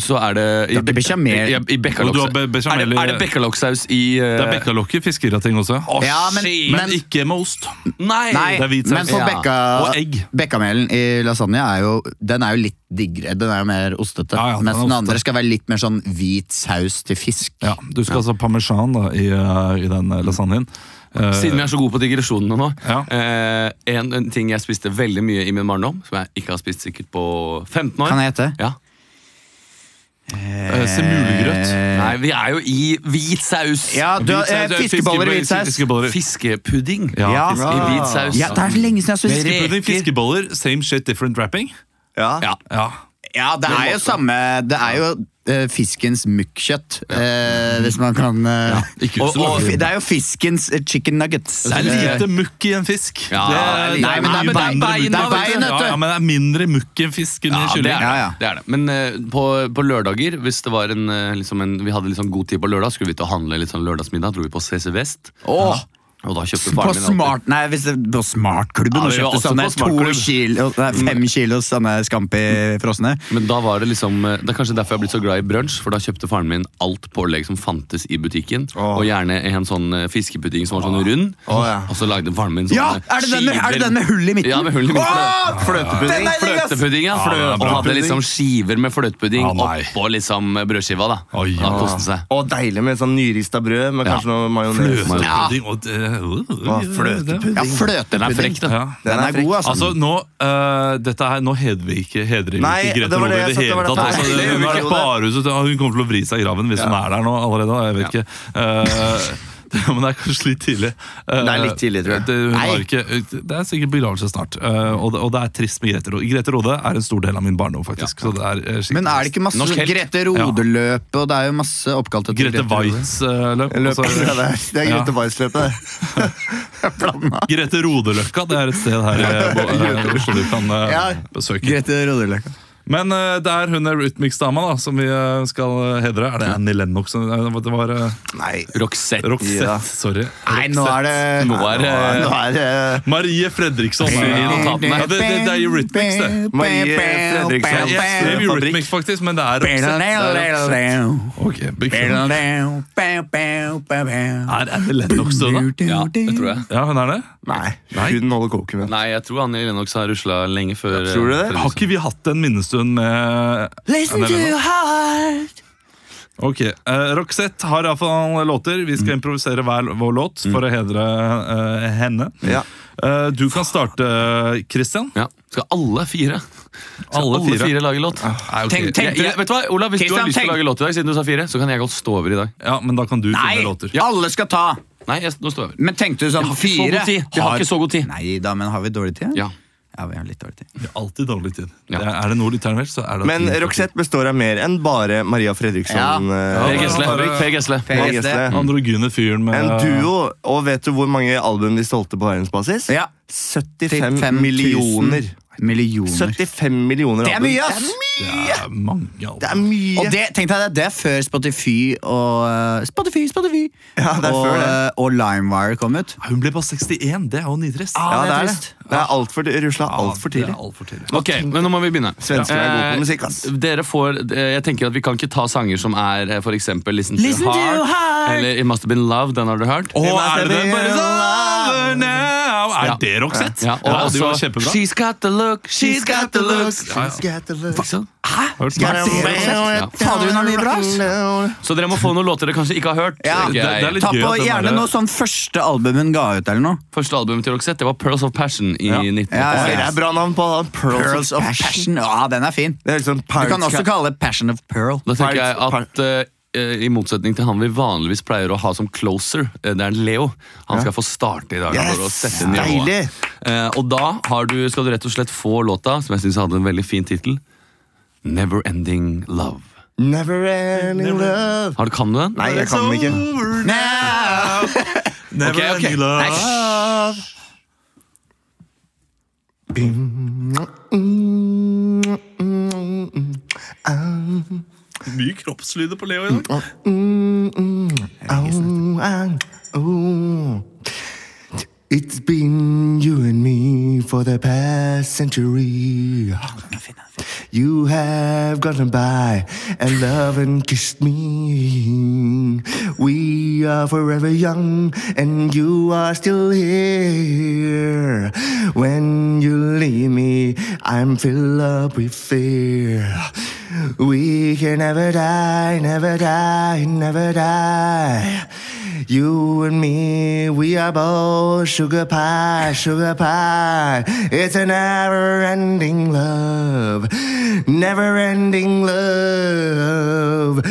Speaker 4: så er det I,
Speaker 3: Ja, det er bechamel.
Speaker 4: i, i
Speaker 1: Og du har be-
Speaker 4: bekkalokk-
Speaker 1: bechamel
Speaker 4: Er det,
Speaker 1: i-
Speaker 4: er det bekkaloksaus i eh,
Speaker 1: Det er bekkalokk i fiskegrateng også.
Speaker 3: Ja, men,
Speaker 1: men,
Speaker 3: men,
Speaker 1: ikke med ost.
Speaker 4: Nei!
Speaker 3: nei,
Speaker 1: det er hvit saus.
Speaker 3: men på
Speaker 4: Ja.
Speaker 3: bekka,
Speaker 1: Og egg.
Speaker 3: bekkamelen i lasagne er jo, den er jo litt diggere. Den er jo mer ostete.
Speaker 1: Ja, ja, den er
Speaker 3: mens den andre
Speaker 1: ostete.
Speaker 3: skal være litt mer sånn hvit saus til fisk.
Speaker 1: Ja, du skal altså ha parmesan da, i, eh, i den eh, lasagnen. Eh,
Speaker 4: Siden vi er så gode på digresjonene nå.
Speaker 1: Ja.
Speaker 4: eh, en, en ting jeg spiste veldig mye i min barndom, som jeg ikke har spist sikkert på 15 år
Speaker 3: Kan jeg gjette?
Speaker 4: Ja.
Speaker 1: eh, Semulegrøt.
Speaker 4: Nei, vi er jo i hvit saus.
Speaker 3: Ja, du har, eh,
Speaker 4: Hvit saus, eh,
Speaker 3: fiskeboller i hvit saus.
Speaker 1: Fiskeboller.
Speaker 4: Fiskepudding
Speaker 1: Ja,
Speaker 4: i hvit saus.
Speaker 3: Ja, det er så lenge siden jeg har spist
Speaker 1: Fiskepudding, fiskeboller, same shit, different wrapping.
Speaker 2: Ja.
Speaker 4: Ja.
Speaker 1: Ja.
Speaker 3: Ja, det er jo samme Det er jo eh, fiskens mukkjøtt, eh, hvis man kan eh,
Speaker 4: ikke
Speaker 3: og,
Speaker 4: så
Speaker 3: og,
Speaker 4: mye.
Speaker 3: fi- Det er jo fiskens eh, chicken nuggets.
Speaker 1: Det er
Speaker 3: Eh,
Speaker 1: lite mukk i en fisk.
Speaker 4: Ja,
Speaker 1: det, er,
Speaker 3: nei,
Speaker 1: mye
Speaker 3: men det er- men det er
Speaker 1: mindre
Speaker 3: bein,
Speaker 1: mukk.
Speaker 3: det er bein, vet du.
Speaker 1: ja, ja, men det er mindre mukk i en fisk enn i
Speaker 4: Ja, det,
Speaker 1: kylling.
Speaker 4: er,
Speaker 3: Ja, ja.
Speaker 4: det er det. Men eh, på, på lørdager, hvis det var en, eh, liksom en, vi hadde litt sånn god tid på lørdag, skulle vi til å handle litt sånn lørdagsmiddag, dro vi på CC Vest.
Speaker 3: Åh,
Speaker 4: Og da kjøpte
Speaker 3: på
Speaker 4: faren min alltid-
Speaker 3: smart Nei, hvis det, på Smartklubben
Speaker 4: Ja,
Speaker 3: og
Speaker 4: vi var
Speaker 3: kjøpte
Speaker 4: også
Speaker 3: sånne
Speaker 4: på
Speaker 3: to
Speaker 4: Smartklubb.
Speaker 3: kilo, nei, fem kilos sånne Scampi frosne.
Speaker 4: Men da var det liksom eh, Det er kanskje derfor jeg har blitt så glad i brunsj, for da kjøpte faren min alt pålegg som fantes i butikken. Og gjerne en sånn eh, fiskepudding som var sånn rund.
Speaker 2: Åh, ja.
Speaker 4: Og så lagde faren min sånne
Speaker 3: Ja! Er det den med, er det
Speaker 4: skiver-
Speaker 3: den med hull i midten?
Speaker 4: Ja, med hull i midten.
Speaker 3: Åh,
Speaker 2: Fløtepudding.
Speaker 3: Den er digg, ass!
Speaker 4: Fløtepudding, ja.
Speaker 1: Ja, det er
Speaker 4: og
Speaker 1: bra.
Speaker 4: hadde liksom skiver med fløtepudding
Speaker 1: Ja, nei.
Speaker 4: oppå liksom brødskiva. da
Speaker 1: Oi,
Speaker 4: Da
Speaker 1: ja.
Speaker 4: koste han seg.
Speaker 2: Og deilig med sånn nyrista brød med kanskje noe majones.
Speaker 1: Fløtepudding og eh,
Speaker 2: Å, fløtepudding.
Speaker 3: Ja, fløtepudding.
Speaker 4: Den er frekk, da.
Speaker 1: Ja.
Speaker 3: Den er god, altså.
Speaker 1: Altså, nå, eh, dette her, nå hedrer vi ikke, hedrer vi
Speaker 2: Nei,
Speaker 1: ikke Grete
Speaker 2: det var
Speaker 1: Lode
Speaker 2: det
Speaker 1: i
Speaker 2: jeg
Speaker 1: det
Speaker 2: sa, det
Speaker 1: hele
Speaker 2: var det
Speaker 1: tatt.
Speaker 2: feil.
Speaker 1: Altså,
Speaker 2: Det
Speaker 1: det- hun,
Speaker 2: gjorde
Speaker 1: er
Speaker 2: det.
Speaker 1: bare, så, hun kommer til å vri seg i graven hvis hun er der nå allerede. da, Jeg vet ikke. Eh, det, men det er kanskje litt tidlig. Eh,
Speaker 2: Det er litt tidlig, tror jeg.
Speaker 1: Det, hun
Speaker 3: Nei.
Speaker 1: har ikke, det er sikkert begravelse snart. eh, og, det, og det er trist med Grete Rode. Grete Rode er en stor del av min barndom, faktisk. Så det er, eh, skikkelig
Speaker 3: Men er det ikke masse
Speaker 1: Norsk helt.
Speaker 3: Grete Rode-løpet, og det er jo masse oppkalt etter
Speaker 1: Grete Waitz eh, løp.
Speaker 2: Løp,
Speaker 1: altså-
Speaker 2: det er, det er Grete Weiss-løpet. det.
Speaker 1: Grete Rodeløkka, det er et sted her i Bo- eh, i Oslo du kan eh,
Speaker 3: Ja.
Speaker 1: besøke.
Speaker 3: Grete Rode-løpet.
Speaker 1: Men eh, det er hun Eurythmics-dama da, som vi eh, skal eh, hedre. Er det Annie Lennox? Nei, Det var uh,
Speaker 2: Nei.
Speaker 4: Roxette.
Speaker 1: Roxette.
Speaker 2: Ja.
Speaker 1: Sorry.
Speaker 3: Nei, nå er det
Speaker 4: Nå er det
Speaker 2: Nå er eh, det
Speaker 1: Marie Fredriksson. Ja, det, det, det er Eurythmics, det.
Speaker 2: Marie Fredriksson.
Speaker 1: Jeg skrev Eurythmics, faktisk, men det er Roxette. Ok, beklager. Er Annie Lennox død, da?
Speaker 4: Ja, det tror jeg.
Speaker 1: Ja, hun er det.
Speaker 2: Nei, hun holder koken. vet du.
Speaker 4: Nei, jeg tror Annie Lennox har rusla lenge før
Speaker 2: Ja, tror du det?
Speaker 4: eh,
Speaker 1: Har ikke vi hatt en minnestund med Listen to heart Ok, eh, Roxette har iallfall låter. Vi
Speaker 2: Mm.
Speaker 1: skal improvisere hver vår låt for å hedre eh, henne.
Speaker 2: Ja.
Speaker 1: Eh, du kan starte, Christian.
Speaker 4: Ja. Skal alle fire Skal
Speaker 1: Alle
Speaker 4: alle,
Speaker 1: fire?
Speaker 4: fire. lage låt?
Speaker 1: Nei, ok.
Speaker 4: Tenk- tenk- Jeg, jeg, vet du hva, Olav, Hvis du
Speaker 3: Christian,
Speaker 4: har lyst til
Speaker 3: tenk.
Speaker 4: å lage låt i dag, siden du sa fire, så kan jeg godt stå over i dag.
Speaker 1: Ja, men da kan du finne låter.
Speaker 3: Nei, alle skal ta!
Speaker 4: Nei, jeg, nå står jeg over.
Speaker 3: Men tenkte du sånn
Speaker 4: Så
Speaker 3: fire?
Speaker 4: god tid. Jeg har ikke så god tid.
Speaker 3: Nei da, men har vi dårlig tid?
Speaker 4: Ja.
Speaker 3: ja vi har litt dårlig tid.
Speaker 1: Det er Alltid dårlig tid.
Speaker 4: Ja.
Speaker 1: Det er, er det noe lytteren vil, så er det at
Speaker 2: Men
Speaker 1: de-
Speaker 2: Roxette består av mer enn bare Maria Fredriksson.
Speaker 3: Ja.
Speaker 4: Per
Speaker 2: eh,
Speaker 4: Gessle.
Speaker 1: bare-
Speaker 4: Per Gessle.
Speaker 2: og Gessle.
Speaker 1: Den Androgyne fyren med
Speaker 2: En duo. Og vet du hvor mange album de solgte på verdensbasis?
Speaker 3: Ja.
Speaker 2: 75 millioner. 75 millioner
Speaker 3: Det er mye,
Speaker 2: album.
Speaker 3: ass!
Speaker 1: Det er mange altså. album.
Speaker 2: Det er mye!
Speaker 3: Og det, tenkte jeg, det- det er før Spotify og eh, Spotify, Spotify
Speaker 2: Ja, det er
Speaker 3: og,
Speaker 2: før det.
Speaker 3: eh, og Limewire kom ut.
Speaker 1: Hun ble bare 61. Det er jo nitrist.
Speaker 2: ja, Ah, det er
Speaker 3: trist.
Speaker 2: det. Det er alt for, Russland er altfor
Speaker 1: Det er
Speaker 2: tidlig.
Speaker 1: alt for tidlig.
Speaker 4: Ok, men nå må vi begynne.
Speaker 2: Svenskene er gode på
Speaker 4: Eh,
Speaker 2: musikk, ass.
Speaker 4: Dere får, eh, jeg tenker at Vi kan ikke ta sanger som er eh, for eksempel Listen,
Speaker 3: Listen to
Speaker 4: to, heart, eller It Must Have Been Love. Den har du hørt.
Speaker 1: Å, er det den bare sånn now? Er
Speaker 4: Ja.
Speaker 1: det Roxette?
Speaker 4: Ja, og
Speaker 1: Ja, det var
Speaker 4: også
Speaker 1: kjempebra.
Speaker 4: She's got the look, she's got the look. Ikke sant?
Speaker 1: Hørt
Speaker 2: Er
Speaker 1: den?
Speaker 2: det
Speaker 4: Ja.
Speaker 3: Fader, hun har mye bra, ass.
Speaker 4: Så dere må få noen låter dere kanskje ikke har hørt.
Speaker 3: Ja.
Speaker 4: tenker jeg.
Speaker 1: Det er litt
Speaker 3: Ta
Speaker 1: gøy
Speaker 3: på
Speaker 1: at den
Speaker 3: gjerne
Speaker 1: der-
Speaker 3: noe sånn første album hun ga ut, eller noe.
Speaker 4: Første albumet til Roxette det var Pearls of Passion i
Speaker 1: Ja.
Speaker 4: 1980.
Speaker 3: Ja,
Speaker 2: Oi, det er bra navn på han. Pearls,
Speaker 3: Pearls of Passion. Ja, den er fin.
Speaker 2: Det er liksom
Speaker 3: Du kan
Speaker 2: Pirates
Speaker 3: også
Speaker 2: Ca-
Speaker 3: kalle det Passion of Pearl.
Speaker 4: Da tenker jeg
Speaker 2: Pirates-
Speaker 4: at eh, I motsetning til han vi vanligvis pleier å ha som closer, eh, det er Leo. Han skal få starte i dag. for å sette nivået.
Speaker 2: Deilig!
Speaker 4: Eh, og da har du, skal du rett og slett få låta, som jeg syns hadde en veldig fin tittel, Never Ending Love.
Speaker 2: Never ending love.
Speaker 4: Har du, kan du den?
Speaker 2: Nei, jeg kan den ikke.
Speaker 3: Now.
Speaker 1: Never
Speaker 4: Ok, ok.
Speaker 1: ending love.
Speaker 4: Nei,
Speaker 1: Mye kroppslyder på Leo i dag.
Speaker 2: Oh, and, oh. It's been you and me for the past century. You have gotten by and love and kissed me. We are forever young and you are still here. When you leave me, I'm filled up with fear. We can never die, never die, never die. You and me, we are both sugar pie, sugar pie. It's a never ending love, never ending love.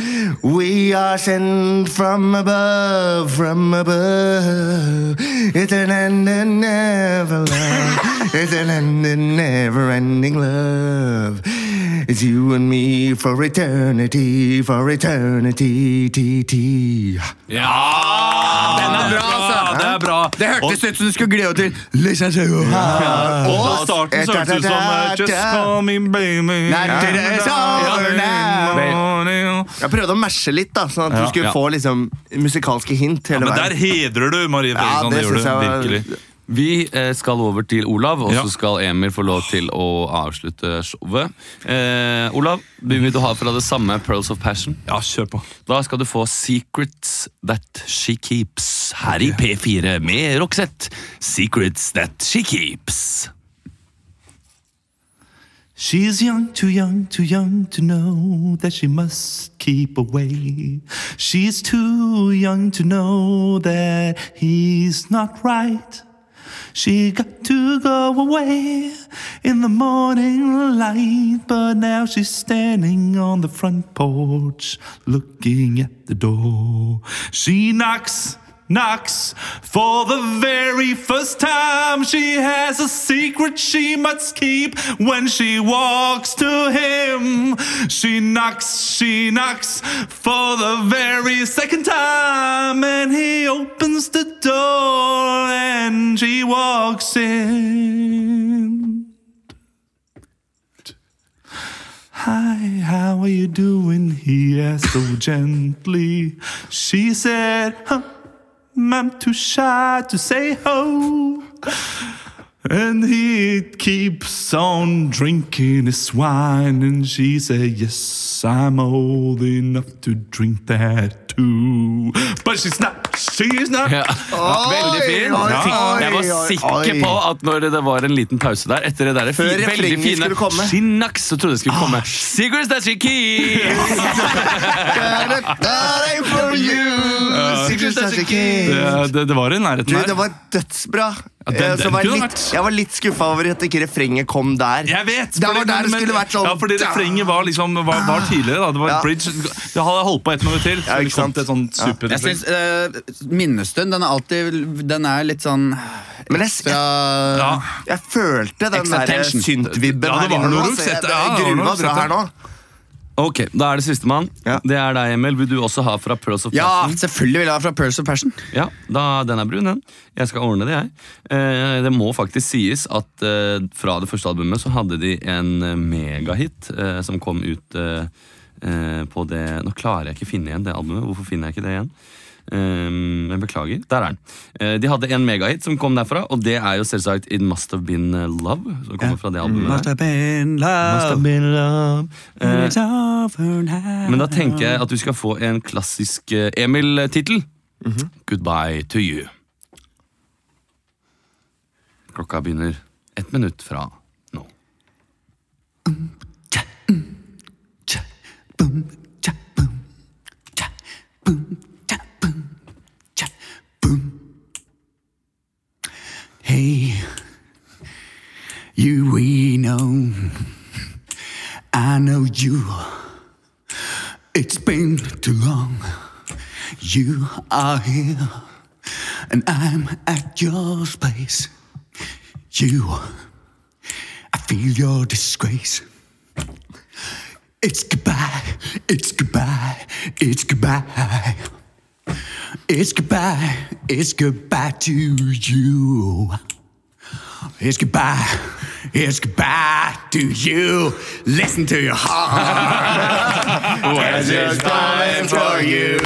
Speaker 2: We are sent from above, from above. It's an end and never love, it's an end and never ending love. It's you and me for eternity, for eternity, t, t.
Speaker 1: Ja! Den
Speaker 3: er bra, altså.
Speaker 1: Det er bra.
Speaker 3: Det hørtes ut som du skulle glide over til Listen to her.
Speaker 1: Og starten så hørtes ut som eh, Just call me baby.
Speaker 3: Nei, det er så over
Speaker 1: Ja.
Speaker 2: Jeg prøvde å mashe litt, da, sånn at du skulle
Speaker 4: ja.
Speaker 2: få liksom, musikalske hint hele
Speaker 1: Men der
Speaker 2: veien.
Speaker 1: hedrer du Marie Fredriksson.
Speaker 2: det
Speaker 1: det gjør du
Speaker 2: synes jeg var-
Speaker 1: virkelig.
Speaker 4: Vi eh, skal over til Olav, og
Speaker 1: Ja.
Speaker 4: så skal Emil få lov til å avslutte showet. Eh, Olav, vi vil du ha fra det samme Pearls of Passion?
Speaker 1: Ja, kjør på.
Speaker 4: Da skal du få Secrets That She Keeps her i P4 med Roxette. Secrets That She Keeps.
Speaker 9: She is young, too young, too young to know that she must keep away. She is too young to know that he's not right. She got to go away in the morning light, but now she's standing on the front porch looking at the door. She knocks, knocks for the very first time. She has a secret she must keep when she walks to him. She knocks, she knocks for the very second time, and he opens the door and she walks in. Hi, how are you doing? He asked so gently. She said, huh, I'm too shy to say ho. And he keeps on drinking his wine, and she said, Yes, I'm old enough to drink that too. But she's not, she's not.
Speaker 4: Ja. Veldig fin.
Speaker 2: oi,
Speaker 4: Jeg fikk- Jeg
Speaker 2: oi,
Speaker 4: var
Speaker 2: oi,
Speaker 4: sikker
Speaker 2: oi.
Speaker 4: på at når det var en liten pause der etter det der fi,
Speaker 2: Før
Speaker 4: veldig
Speaker 2: refrenget
Speaker 4: fine
Speaker 2: skulle komme. Ah,
Speaker 4: Shinaks, så trodde jeg det skulle komme. Sigurds Dashiki!
Speaker 2: Dying for you, secret as a king.
Speaker 1: Det, det, det var i nærheten
Speaker 2: Du, det
Speaker 1: her.
Speaker 2: var dødsbra.
Speaker 1: den-
Speaker 2: Eh, så
Speaker 1: den
Speaker 2: var jeg
Speaker 1: kunne
Speaker 2: litt,
Speaker 1: vært.
Speaker 2: jeg var litt skuffa over at ikke refrenget kom der.
Speaker 1: Jeg vet!
Speaker 2: Det var
Speaker 1: fordi-
Speaker 2: der det skulle vært sånn.
Speaker 1: Ja, fordi refrenget var liksom var, var tidligere. da Det var
Speaker 2: Ja.
Speaker 1: bridge. Det hadde holdt på ett minutt til. Så
Speaker 2: Ja,
Speaker 1: det
Speaker 2: ikke
Speaker 1: kom
Speaker 2: sant.
Speaker 1: til et sånt
Speaker 2: Ja.
Speaker 1: super
Speaker 3: Jeg syns eh, minnestund den er alltid Den er litt sånn
Speaker 2: Men jeg,
Speaker 3: fra
Speaker 2: jeg,
Speaker 1: ja.
Speaker 2: jeg følte den
Speaker 3: Extra
Speaker 2: der
Speaker 3: tension.
Speaker 2: syntvibben
Speaker 1: Ja, det
Speaker 2: her
Speaker 1: var
Speaker 2: inne.
Speaker 1: noe du
Speaker 2: nå, så jeg-
Speaker 1: sette- ja, det var noe
Speaker 2: jeg grua
Speaker 1: du
Speaker 2: bra
Speaker 1: sette.
Speaker 2: her nå.
Speaker 4: Ok, Da er det sistemann.
Speaker 2: Ja.
Speaker 4: Det er deg, Emil. Vil du også ha fra Pearls of
Speaker 3: Ja,
Speaker 4: Passion?
Speaker 3: Ah, selvfølgelig vil jeg ha fra Pearls of Passion.
Speaker 4: Ja, da, Den er brun, den. Jeg skal ordne det, jeg. Eh, det må faktisk sies at eh, fra det første albumet så hadde de en eh, megahit eh, som kom ut eh, eh, på det Nå klarer jeg ikke finne igjen det albumet. Hvorfor finner jeg ikke det igjen? Um, jeg beklager. Der er den. Eh, de hadde en megahit som kom derfra, og det er jo selvsagt It Must Have Been eh, Love. Som kommer fra det albumet der. Must have been love. Eh, men da tenker jeg at du skal få en klassisk eh, Emil-tittel. Goodbye to you. Klokka begynner ett minutt fra nå.
Speaker 3: Hey, you we know, I know you. It's been too long. You are here, and I'm at your space. You, I feel your disgrace. It's goodbye, it's goodbye, it's goodbye. It's goodbye, it's goodbye to you. It's goodbye, it's goodbye to you. Listen to your heart. Cause it's time for you.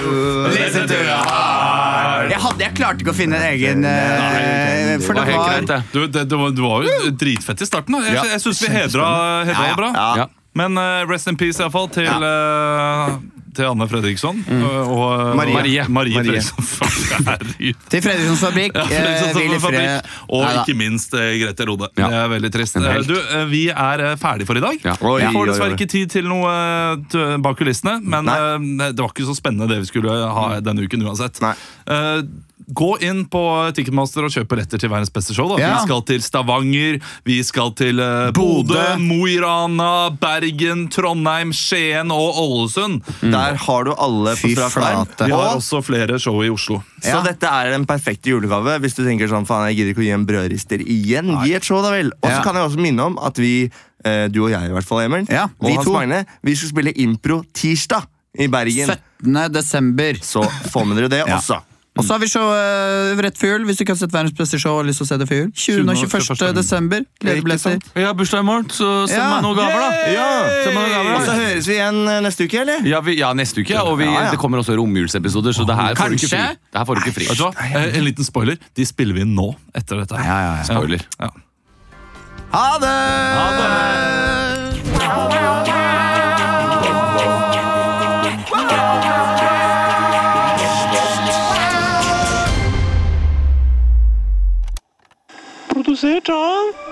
Speaker 3: Listen to your heart. Jeg, hadde, jeg klarte ikke å finne en egen eh, For
Speaker 4: Det var
Speaker 3: det
Speaker 4: helt
Speaker 3: var
Speaker 4: greit, det.
Speaker 1: Du, det, det, var, det var jo dritfett i starten. da Jeg,
Speaker 4: Ja.
Speaker 1: jeg syns vi hedra, hedra det bra.
Speaker 4: Ja.
Speaker 1: Men eh, rest in peace, iallfall, til, eh, til Anne Fredriksson.
Speaker 4: Mm.
Speaker 1: eh, Og, eh,
Speaker 2: Marie.
Speaker 1: Marie, Marie
Speaker 2: Marie.
Speaker 1: Fredriksson. Fuck, herregud.
Speaker 3: Til Fredrikssons fabrikk.
Speaker 1: Ja,
Speaker 3: eh,
Speaker 1: Fredriksson
Speaker 3: vi
Speaker 1: liksom som
Speaker 3: lefrer-
Speaker 1: fabrikk, og
Speaker 3: Neida.
Speaker 1: ikke minst eh, Grete Rode.
Speaker 4: Ja.
Speaker 1: Det er veldig trist.
Speaker 4: En
Speaker 1: Eh,
Speaker 4: helt.
Speaker 1: Du, eh, vi er eh, ferdig for i dag.
Speaker 4: Ja.
Speaker 2: Oi,
Speaker 1: Vi får
Speaker 2: oi,
Speaker 1: dessverre
Speaker 2: oi.
Speaker 1: ikke tid til noe eh, t- bak kulissene, men eh, det var ikke så spennende det vi skulle eh, ha denne uken uansett.
Speaker 2: Nei.
Speaker 1: Eh, Gå inn på Ticketmaster og kjøp billetter til verdens beste show. Da.
Speaker 3: Ja.
Speaker 1: Vi skal til Stavanger, vi skal til eh, Bodø, Mo i Rana, Bergen, Trondheim, Skien og Ålesund.
Speaker 2: Der har du alle på
Speaker 3: Fy
Speaker 2: straff der.
Speaker 3: flate.
Speaker 1: Vi har
Speaker 2: Og,
Speaker 1: også flere show i Oslo.
Speaker 2: så dette er den perfekte julegave hvis du tenker sånn, faen, jeg gidder ikke å gi en brødrister igjen. Gi et show, da vel. Og så
Speaker 3: Ja.
Speaker 2: kan jeg også minne om at vi, eh, du og jeg i hvert fall, Emil,
Speaker 3: Ja,
Speaker 2: og
Speaker 3: vi
Speaker 2: Hans
Speaker 3: to.
Speaker 2: Magne, vi skal spille impro tirsdag i Bergen.
Speaker 3: 17. desember.
Speaker 2: Så får med dere det
Speaker 3: Ja.
Speaker 2: også.
Speaker 3: Og så har vi show eh, rett før jul, hvis du ikke har sett verdens beste show og har lyst til å se det før jul. 20. og 21. desember. Gledebilletter.
Speaker 4: Jeg har bursdag i morgen, så send
Speaker 3: Ja.
Speaker 4: meg noen gaver, da. Send meg noen gaver,
Speaker 2: Og så
Speaker 4: da.
Speaker 2: høres vi igjen eh, neste uke, eller?
Speaker 4: Ja, vi, ja, neste uke. ja, Og vi,
Speaker 2: Ja, ja.
Speaker 4: det kommer også romjulsepisoder, så det her får du ikke fri.
Speaker 3: Kanskje?
Speaker 4: Det her får du ikke fri.
Speaker 1: Vet du hva? Eh, En liten spoiler. De spiller vi inn nå, etter dette. her.
Speaker 3: ja, ja.
Speaker 4: Spoiler.
Speaker 1: Ja.
Speaker 2: Ha det!
Speaker 7: Produsert av